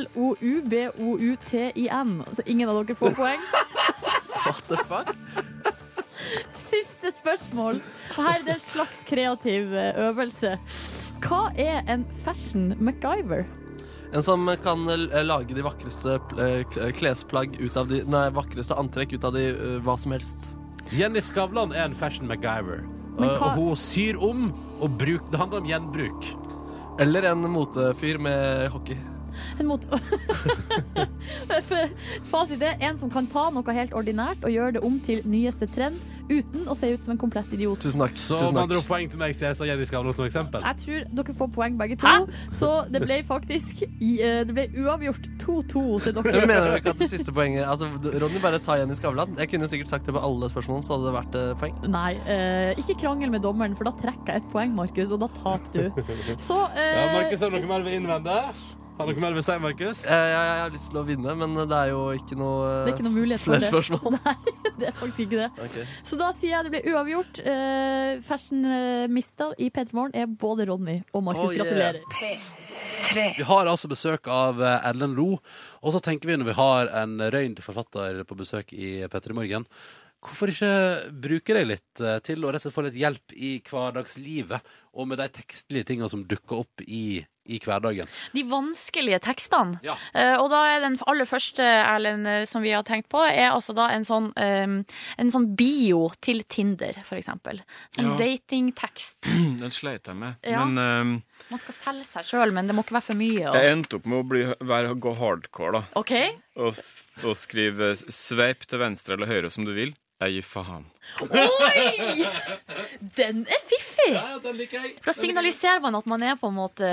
[SPEAKER 4] L-O-U-B-O-U-T-I-N. Så ingen av dere får poeng.
[SPEAKER 6] [LAUGHS] What the fuck?
[SPEAKER 4] Siste spørsmål. Her er det en slags kreativ eh, øvelse. Hva er en fashion MacGyver?
[SPEAKER 6] En som kan eh, lage de vakreste eh, k- klesplagg ut av de Nei, vakreste antrekk ut av de eh, hva som helst.
[SPEAKER 7] Jenny Skavlan er en fashion MacGyver.
[SPEAKER 6] Men
[SPEAKER 7] Eh, Og-
[SPEAKER 6] hva-
[SPEAKER 7] Og hun syr om og bruk, Det handler om gjenbruk.
[SPEAKER 6] Eller en motefyr med hockey.
[SPEAKER 4] En mot... Fasit er en som kan ta noe helt ordinært og gjøre det om til nyeste trend uten å se ut som en komplett idiot.
[SPEAKER 6] Tusen takk.
[SPEAKER 7] Så
[SPEAKER 6] Tusen
[SPEAKER 7] med
[SPEAKER 6] takk.
[SPEAKER 7] andre ord, poeng til meg, så jeg sa Jenny Skavlan som eksempel.
[SPEAKER 4] Jeg tror dere får poeng begge to, så det ble faktisk i- eh, Det ble uavgjort 2-2 til
[SPEAKER 6] Jeg mener jo
[SPEAKER 4] dere.
[SPEAKER 6] ikke at det siste poenget altså, Ronny bare sa Jenny Skavlan. Jeg kunne sikkert sagt det på alle spørsmålene, så hadde det vært eh, poeng.
[SPEAKER 4] Nei, eh, ikke krangel med dommeren, for da trekker jeg et poeng, Markus, og da taper du. Så
[SPEAKER 7] Ja,
[SPEAKER 4] eh,
[SPEAKER 7] Markus, har du noe mer du vil innvende? Har du noe mer du vil si, Markus?
[SPEAKER 6] Jeg, jeg, Eh, jeg har lyst til å vinne, men det er jo ikke noe eh,
[SPEAKER 4] Det er ikke noe mulighet for
[SPEAKER 6] flere
[SPEAKER 4] det.
[SPEAKER 6] spørsmål.
[SPEAKER 4] det er faktisk ikke det.
[SPEAKER 6] Ok.
[SPEAKER 4] Så da sier jeg det ble uavgjort. Eh, Fashion eh, mista i P3 Morgen er både Ronny og Markus.
[SPEAKER 3] Oh, yeah.
[SPEAKER 4] Gratulerer.
[SPEAKER 3] Vi har altså besøk av eh, Ellen Lo, og så tenker vi når vi har en røynd forfatter på besøk i Petter i morgen, hvorfor ikke bruke deg litt eh, til å rett og slett få litt hjelp i hverdagslivet, og med de tekstlige tingene som dukker opp i, i hverdagen.
[SPEAKER 4] De vanskelige tekstene.
[SPEAKER 3] Ja.
[SPEAKER 4] Eh, og da er den aller første, Erlend, eh, som vi har tenkt på, er altså da en sånn, eh, en sånn bio til Tinder, for eksempel. Sånn
[SPEAKER 10] Ja.
[SPEAKER 4] datingtekst.
[SPEAKER 10] [CLEARS THROAT] Den sleit jeg med.
[SPEAKER 4] Ja.
[SPEAKER 10] Men ehm,
[SPEAKER 4] Man skal selge seg sjøl, men det må ikke være for mye. altså. Og...
[SPEAKER 10] jeg endte opp med å bli, være, gå hardcore, da.
[SPEAKER 4] OK?
[SPEAKER 10] Og, s- og skrive sveip til venstre eller høyre som du vil. Jeg gir faen.
[SPEAKER 4] Oi! Den er fiffig!
[SPEAKER 7] Ja, den liker jeg.
[SPEAKER 4] For da signaliserer man at man er på en måte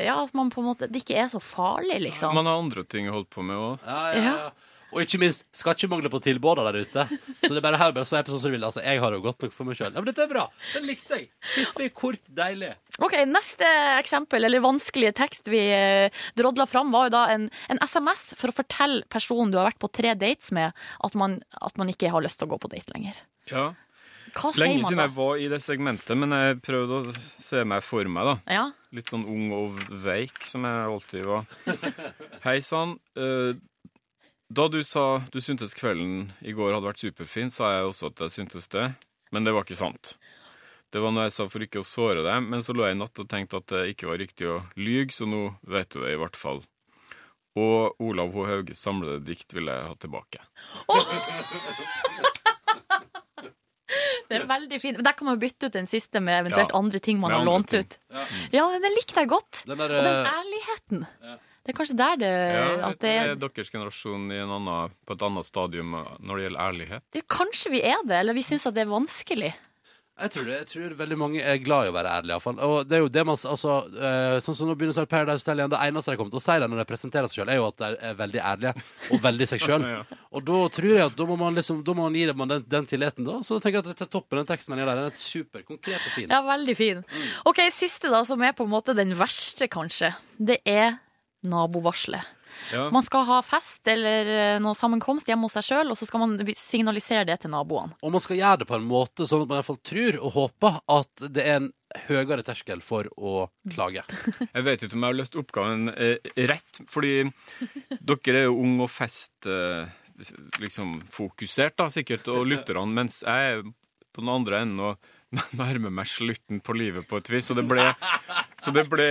[SPEAKER 4] Ja, at man på en måte Det ikke er så farlig, liksom.
[SPEAKER 10] Man har andre ting å holde på med òg.
[SPEAKER 4] ja, ja.
[SPEAKER 3] Og ikke minst, skal ikke mangle på tilbåder der ute. Så det er bare her, bare sveipe sånn som du vil. Altså, jeg har det jo godt nok for meg sjøl. Ja, men dette er bra. Den likte jeg. Fiffig, kort, deilig.
[SPEAKER 4] OK, neste eksempel, eller vanskelige tekst vi eh, drodla fram, var jo da en, en SMS for å fortelle personen du har vært på tre dates med, at man, at man ikke har lyst til å gå på date lenger.
[SPEAKER 10] Ja.
[SPEAKER 4] Hva sier
[SPEAKER 10] Lenge
[SPEAKER 4] man
[SPEAKER 10] siden
[SPEAKER 4] da?
[SPEAKER 10] jeg var i det segmentet, men jeg prøvde å se meg for meg. da.
[SPEAKER 4] Ja.
[SPEAKER 10] Litt sånn ung og veik, som jeg alltid
[SPEAKER 4] [LAUGHS]
[SPEAKER 10] var. Hei sann. eh, Da du sa du syntes kvelden i går hadde vært superfin, sa jeg også at jeg syntes det, men det var ikke sant. Det var noe jeg sa for ikke å såre deg, men så lå jeg i natt og tenkte at det ikke var riktig å lyge, så nå vet du det i hvert fall. Og Olav H. Hauges samlede dikt vil jeg ha tilbake.
[SPEAKER 4] Det er veldig fint. Men Der kan man jo bytte ut den siste med eventuelt
[SPEAKER 10] Ja,
[SPEAKER 4] andre ting man
[SPEAKER 10] med
[SPEAKER 4] har
[SPEAKER 10] andre
[SPEAKER 4] lånt
[SPEAKER 10] ting. Mm.
[SPEAKER 4] ut. Ja, men den likte jeg godt.
[SPEAKER 10] Den der,
[SPEAKER 4] Og den
[SPEAKER 10] eh,
[SPEAKER 4] ærligheten. Det er kanskje der det,
[SPEAKER 10] Ja,
[SPEAKER 4] Eh, at det
[SPEAKER 10] er
[SPEAKER 4] er
[SPEAKER 10] deres generasjon i en annen, på et annet stadium når det gjelder ærlighet.
[SPEAKER 4] det, Kanskje vi er det, eller vi syns at det er vanskelig.
[SPEAKER 3] Jeg tror, det, jeg tror veldig mange er glad i å være ærlige, iallfall. Og det er jo det man s- altså, eh, Sånn som nå begynner snart Paradise Hotel igjen, det eneste de kommer til å si der når de presenterer seg sjøl, er jo at de er veldig ærlige og veldig seg sjøl.
[SPEAKER 10] [LAUGHS]
[SPEAKER 3] Og da tror jeg at da må man liksom Da må man gi dem den, den tilliten, da. Så tenker jeg at dette topper den tekstmeldinga der. Den er superkonkret og fin.
[SPEAKER 4] Ja, veldig fin.
[SPEAKER 10] Mm.
[SPEAKER 4] OK, siste, da, som er på en måte den verste, kanskje. Det er nabovarselet.
[SPEAKER 10] Ja.
[SPEAKER 4] Man skal ha fest eller eh, noe sammenkomst hjemme hos seg sjøl, og så skal man signalisere det til naboene.
[SPEAKER 3] Og man skal gjøre det på en måte sånn at man iallfall tror og håper at det er en høyere terskel for å klage.
[SPEAKER 10] [LAUGHS] Jeg vet ikke om jeg har løst oppgaven eh, rett, fordi dere er jo ung og fest eh, liksom fokusert da, sikkert, og lytterne, mens jeg er på den andre enden og [LAUGHS] nærmer meg slutten på livet på et vis. Så det ble, så det ble,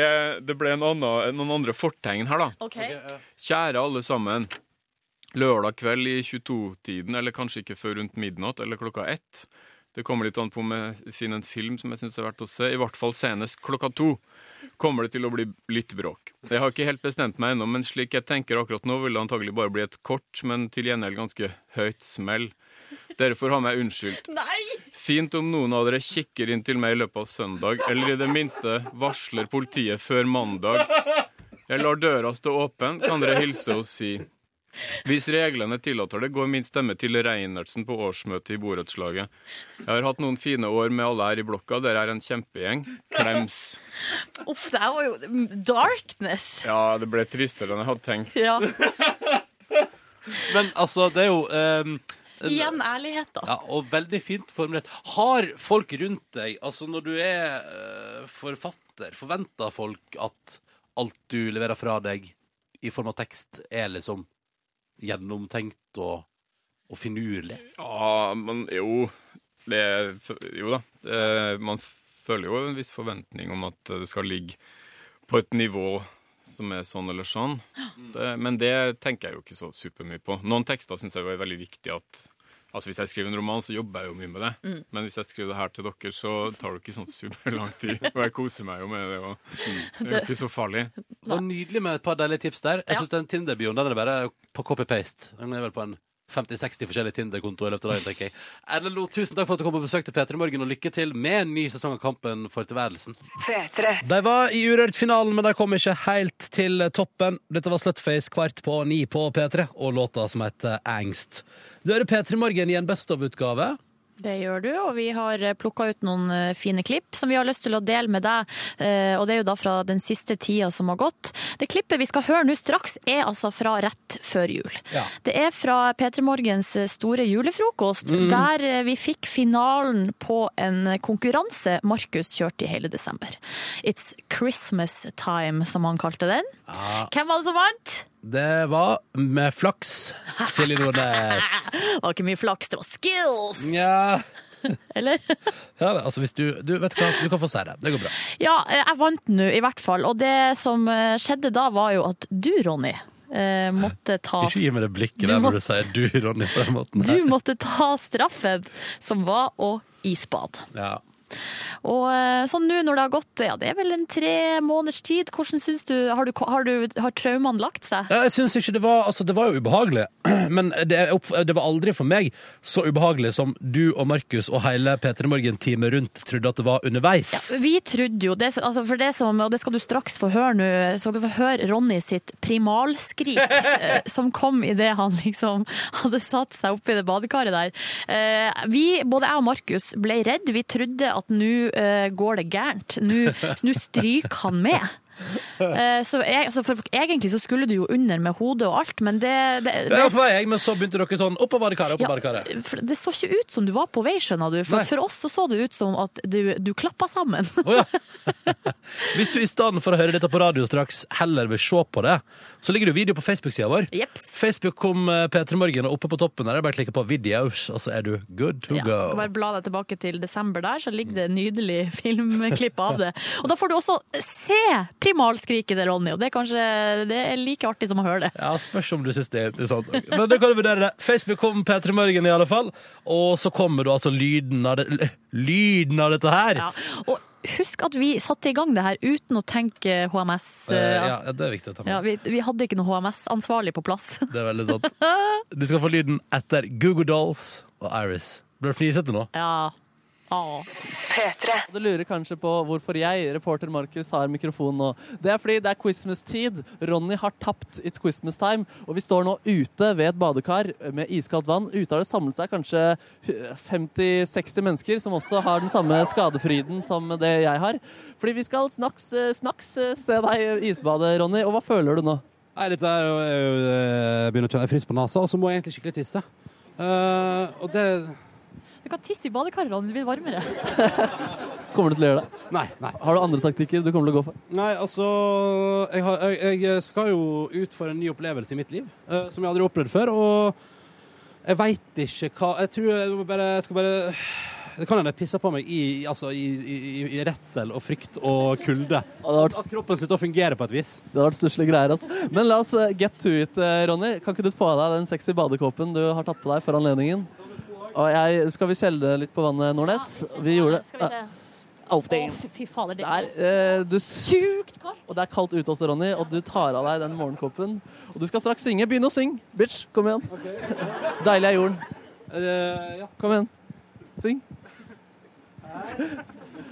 [SPEAKER 10] det ble en annen, noen andre fortegn her, da.
[SPEAKER 4] Ok.
[SPEAKER 10] Kjære alle sammen. lørdag kveld i 22-tiden, eller kanskje ikke før rundt midnatt eller klokka ett. Det kommer litt an på om jeg finner en film som jeg syns er verdt å se. I hvert fall senest klokka to kommer det til å bli litt bråk. Jeg har ikke helt bestemt meg ennå, men slik jeg tenker akkurat nå, vil det antagelig bare bli et kort, men til gjengjeld ganske høyt smell. Derfor har meg unnskyldt. Fint om noen av dere kikker inn til meg i løpet av søndag, eller i det minste varsler politiet før mandag. Jeg lar døra stå åpen, kan dere hilse og si. Hvis reglene tillater det, går min stemme til Reinertsen på årsmøtet i borettslaget. Jeg har hatt noen fine år med alle her i blokka, dere er en kjempegjeng. Klems.
[SPEAKER 4] Uff, det her var jo darkness.
[SPEAKER 10] Ja, det ble tristere enn jeg hadde tenkt.
[SPEAKER 4] Ja.
[SPEAKER 3] Men altså, det er jo ehm,
[SPEAKER 4] Igjen ærlighet, da.
[SPEAKER 3] Ja, og veldig fint formulert. Har folk rundt deg, altså når du er eh, forfatter, forventer folk at alt du leverer fra deg i form av tekst, er liksom gjennomtenkt og, og finurlig?
[SPEAKER 10] Ja, men jo det, Jo da. Eh, Man føler jo en viss forventning om at det skal ligge på et nivå som er sånn eller sånn. Det, men det tenker jeg jo ikke så supermye på. Noen tekster syns jeg jo er veldig viktig at Altså Hvis jeg skriver en roman, så jobber jeg jo mye med det.
[SPEAKER 19] Mm.
[SPEAKER 10] Men hvis jeg skriver det her til dere, så tar det ikke sånn superlang tid. Og jeg koser meg jo med det. Og det er jo ikke så farlig.
[SPEAKER 3] Det var nydelig med et par deilige tips der. Jeg syns den Tinder-bioen den er bare på copy-paste. Den er vel på en 50-60 forskjellige Tinder-kontoer i løpet av dagen, tenker jeg. Erlend Lo, tusen takk for at du kom på besøk til P3 Morgen, og lykke til med en ny sesong av Kampen for tilværelsen.
[SPEAKER 7] De var i Urørt-finalen, men de kom ikke helt til toppen. Dette var Slutface kvart på ni på P3, og låta som heter Angst. Du hører P3 Morgen i en Best of-utgave.
[SPEAKER 4] Det gjør du, og vi har plukka ut noen eh, fine klipp som vi har lyst til å dele med deg. eh, Og det er jo da fra den siste tida som har gått. Det klippet vi skal høre nå straks, er altså fra rett før jul. Det er fra P3 Morgens eh, store julefrokost,
[SPEAKER 20] Mm.
[SPEAKER 4] der eh, vi fikk finalen på en konkurranse Markus kjørte i hele desember. It's Christmas time, som han kalte den. Hvem var det som vant?
[SPEAKER 7] Det var med flaks Silje Nordnes.
[SPEAKER 4] Det var ikke mye flaks, det var skills!
[SPEAKER 7] Nja
[SPEAKER 4] [LAUGHS] Eller?
[SPEAKER 7] Ja, altså hvis du, du Vet du hva, du kan få si det. Det går bra.
[SPEAKER 4] Ja, eh, jeg vant nå i hvert fall. Og det som eh, skjedde da, var jo at du, Ronny, eh, måtte ta
[SPEAKER 7] Ikke gi meg det blikket
[SPEAKER 4] Du
[SPEAKER 7] der
[SPEAKER 4] må-
[SPEAKER 7] når du sier du, Ronny, på den måten.
[SPEAKER 4] Du måtte ta straffen, som var å isbad.
[SPEAKER 7] Ja.
[SPEAKER 4] Og eh, så nå når det har gått ja, det er vel en tre måneders tid, hvordan syns du Har, du, har, du, har traumene lagt seg?
[SPEAKER 7] Ja, Jeg synes ikke det var Altså, det var jo ubehagelig, [CLEARS THROAT] men det, er opp- det var aldri for meg så ubehagelig som du og Markus og hele P3 Morgen-teamet rundt trodde at det var underveis.
[SPEAKER 4] Vi trodde jo det, altså for det som, og det skal du straks få høre nå, skal du få høre Ronny sitt primalskrik eh, som kom idet han liksom hadde satt seg oppi det badekaret der. Eh, Vi, både jeg og Markus, ble redd. Vi trodde at nå eh, går det gærent. Nå nå stryker han med. Eh, Så jeg, altså for, egentlig så skulle du jo under med hodet og alt, men det, det,
[SPEAKER 7] Jeg
[SPEAKER 4] det
[SPEAKER 7] var på vei, jeg, men så begynte dere sånn opp på badekaret, opp på badekaret.
[SPEAKER 4] for det så ikke ut som du var på vei, skjønner du. For,
[SPEAKER 7] Nei.
[SPEAKER 4] for oss så så det ut som at du, du klappa sammen.
[SPEAKER 7] Hvis du i stedet for å høre dette på radio straks heller vil se på det, så ligger det jo video på Facebook-sida vår. Facebook kom eh, P3 Morgen, og oppe på toppen der er det bare å klikke på videos, og så er du good to
[SPEAKER 4] Ja,
[SPEAKER 7] go.
[SPEAKER 4] kan bare bla deg tilbake til desember der, så ligger det en nydelig filmklipp av det. Og da får du også se primalskriket til Ronny, og det er kanskje det er like artig som å høre det.
[SPEAKER 7] Ja, spørs om du synes det er interessant. Men da kan du vurdere det. Facebook kom P3 Morgen i alle fall, og så kommer du altså lyden av, det, lyden av dette her. Eh,
[SPEAKER 4] Ja. Og husk at vi satte i gang det her uten å tenke HMS.
[SPEAKER 7] Eh, ja, ja, det er viktig å ta med.
[SPEAKER 4] Ja, vi, vi hadde ikke noe HMS-ansvarlig på plass. [LAUGHS]
[SPEAKER 7] Det er veldig sant. Du skal få lyden etter Google Dolls og Iris. Blir du fnisete nå?
[SPEAKER 4] Ja. Ah.
[SPEAKER 21] Og Du lurer kanskje på hvorfor jeg, reporter Markus, har mikrofon nå. Det er fordi det er Christmas-tid. Ronny har tapt It's Christmas Time. Og vi står nå ute ved et badekar med iskaldt vann. Ute har det samlet seg kanskje 50-60 mennesker som også har den samme skadefryden som det jeg har. Fordi vi skal snaks, eh, snaks eh, se deg isbade, Ronny. Og hva føler du nå?
[SPEAKER 3] Nei, dette er jo er jo- Jeg begynner å kjenne jeg fryser på nesa, og så må jeg egentlig skikkelig tisse. Eh, og det
[SPEAKER 4] Du kan tisse i badekaret, Ronny, det blir varmere.
[SPEAKER 21] Kommer du til å gjøre det?
[SPEAKER 3] Nei, nei.
[SPEAKER 21] Har du andre taktikker du kommer til å gå for?
[SPEAKER 3] Nei, altså jeg, har, jeg, jeg skal jo ut for en ny opplevelse i mitt liv, eh, som jeg aldri har opplevd før. Og jeg veit ikke hva Jeg tror jeg, må bare, jeg skal bare Det kan hende jeg pisser på meg i, i- altså, i, i, i, i redsel og frykt og kulde. At kroppen slutter å fungere på et vis.
[SPEAKER 6] Det har vært stusslige greier, altså. Men la oss eh, get to it, eh, Ronny. Kan ikke du få av deg den sexy badekåpen du har tatt på deg for anledningen? Og jeg, skal vi skjelle litt på vannet, Nordnes? Vi gjorde
[SPEAKER 4] Skal vi se.
[SPEAKER 6] Outing.
[SPEAKER 4] Å, fy- fy fader, det
[SPEAKER 6] Det er, eh, du, Sjukt kaldt! Og det er kaldt ute også, Ronny, og du tar av deg den morgenkåpen. Og du skal straks synge. Begynn å synge, bitch! Kom igjen. Deilig er jorden.
[SPEAKER 3] Eh,
[SPEAKER 6] Eh, Kom igjen. Syng.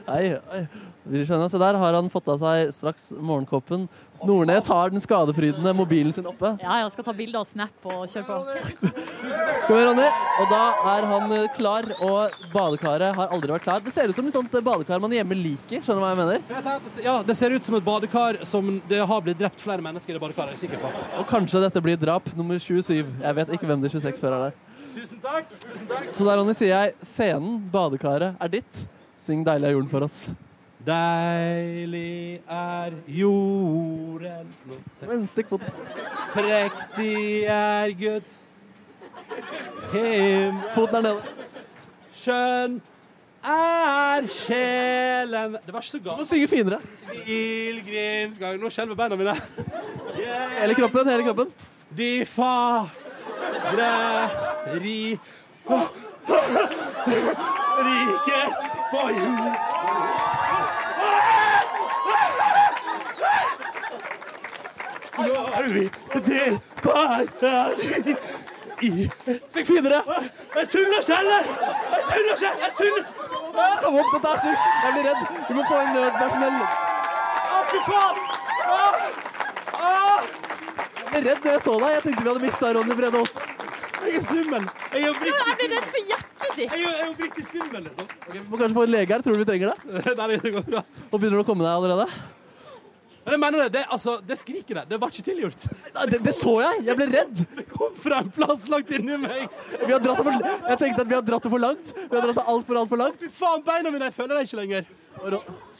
[SPEAKER 6] Nei, nei. Vi skjønner, Se der har han fått av seg straks morgenkåpen. Snornes har den skadefrydende mobilen sin oppe.
[SPEAKER 4] Ja, jeg skal ta bilde og snap og kjøre på.
[SPEAKER 6] Kom igjen, Ronny. Og da er han eh, klar, og badekaret har aldri vært klar. Det ser ut som et sånt eh, badekar man hjemme liker. Skjønner du hva jeg mener?
[SPEAKER 3] Jeg sier at det- Ja, det ser ut som et badekar som det har blitt drept flere mennesker i det badekaret, jeg er sikker på.
[SPEAKER 6] Og kanskje dette blir drap nummer 27. Jeg vet ikke hvem de 26 før er der.
[SPEAKER 3] Tusen takk! Tusen takk!
[SPEAKER 6] Så der, Ronny, sier jeg scenen, badekaret, er ditt. Syng 'Deilig er jorden' for oss.
[SPEAKER 3] Deilig er jorden
[SPEAKER 6] Men stikk foten.
[SPEAKER 3] Prektig er Guds himmel
[SPEAKER 6] Foten er nede.
[SPEAKER 3] Skjønn er sjelen Det var ikke så galt.
[SPEAKER 6] Du må synge finere.
[SPEAKER 3] Pilegrimsgang Nå skjelver beina mine.
[SPEAKER 6] Hele kroppen, hele kroppen.
[SPEAKER 3] De fagre ri... Rike på jord Når vi til paradis i
[SPEAKER 6] Syng finere!
[SPEAKER 3] Jeg tuller ikke heller! Jeg tuller ikke! Jeg tuller ikke!
[SPEAKER 6] Kom opp, dette er sykt. Jeg blir redd. Du må få en nødpersonell.
[SPEAKER 3] Å, fy faen! Å! Å!
[SPEAKER 6] Jeg ble redd når jeg så deg. Jeg tenkte vi hadde mista Ronny Brede Aas.
[SPEAKER 3] Jeg er svimmel. Jeg er oppriktig
[SPEAKER 4] Jeg blir redd for hjertet ditt.
[SPEAKER 3] Jeg er- jeg er oppriktig svimmel, liksom.
[SPEAKER 6] Vi må kanskje få en lege her. Tror du vi trenger det?
[SPEAKER 3] Nei, det går bra.
[SPEAKER 6] Og begynner du å komme deg allerede?
[SPEAKER 3] Men jeg mener det. Det, altså, det skriker der. Det var ikke tilgjort.
[SPEAKER 6] Nei, Det, det så jeg. Jeg ble redd.
[SPEAKER 3] Det kom fra en plass langt inni meg.
[SPEAKER 6] Vi har dratt det for, jeg tenkte at vi har dratt det for langt. Vi har dratt det altfor, altfor langt.
[SPEAKER 3] Fy faen, beina mine! Jeg føler dem ikke lenger.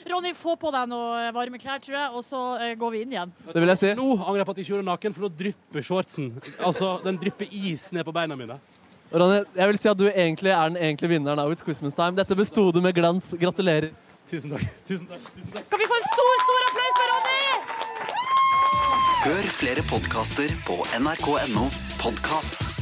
[SPEAKER 4] Ronny, få på deg noe varme klær, tror jeg, og så eh, går vi inn igjen.
[SPEAKER 6] Det vil jeg si.
[SPEAKER 3] Nå angrer jeg på at jeg ikke gjorde det naken, for nå drypper shortsen. Altså, den drypper is ned på beina mine.
[SPEAKER 6] Ronny, jeg vil si at du egentlig er den egentlige vinneren av It's Christmas Time. Dette besto du med glans. Gratulerer.
[SPEAKER 3] Tusen takk. Tusen takk.
[SPEAKER 4] Kan vi få en stor, stor applaus for Ronny?
[SPEAKER 22] Hør flere podkaster på nrk.no podkast.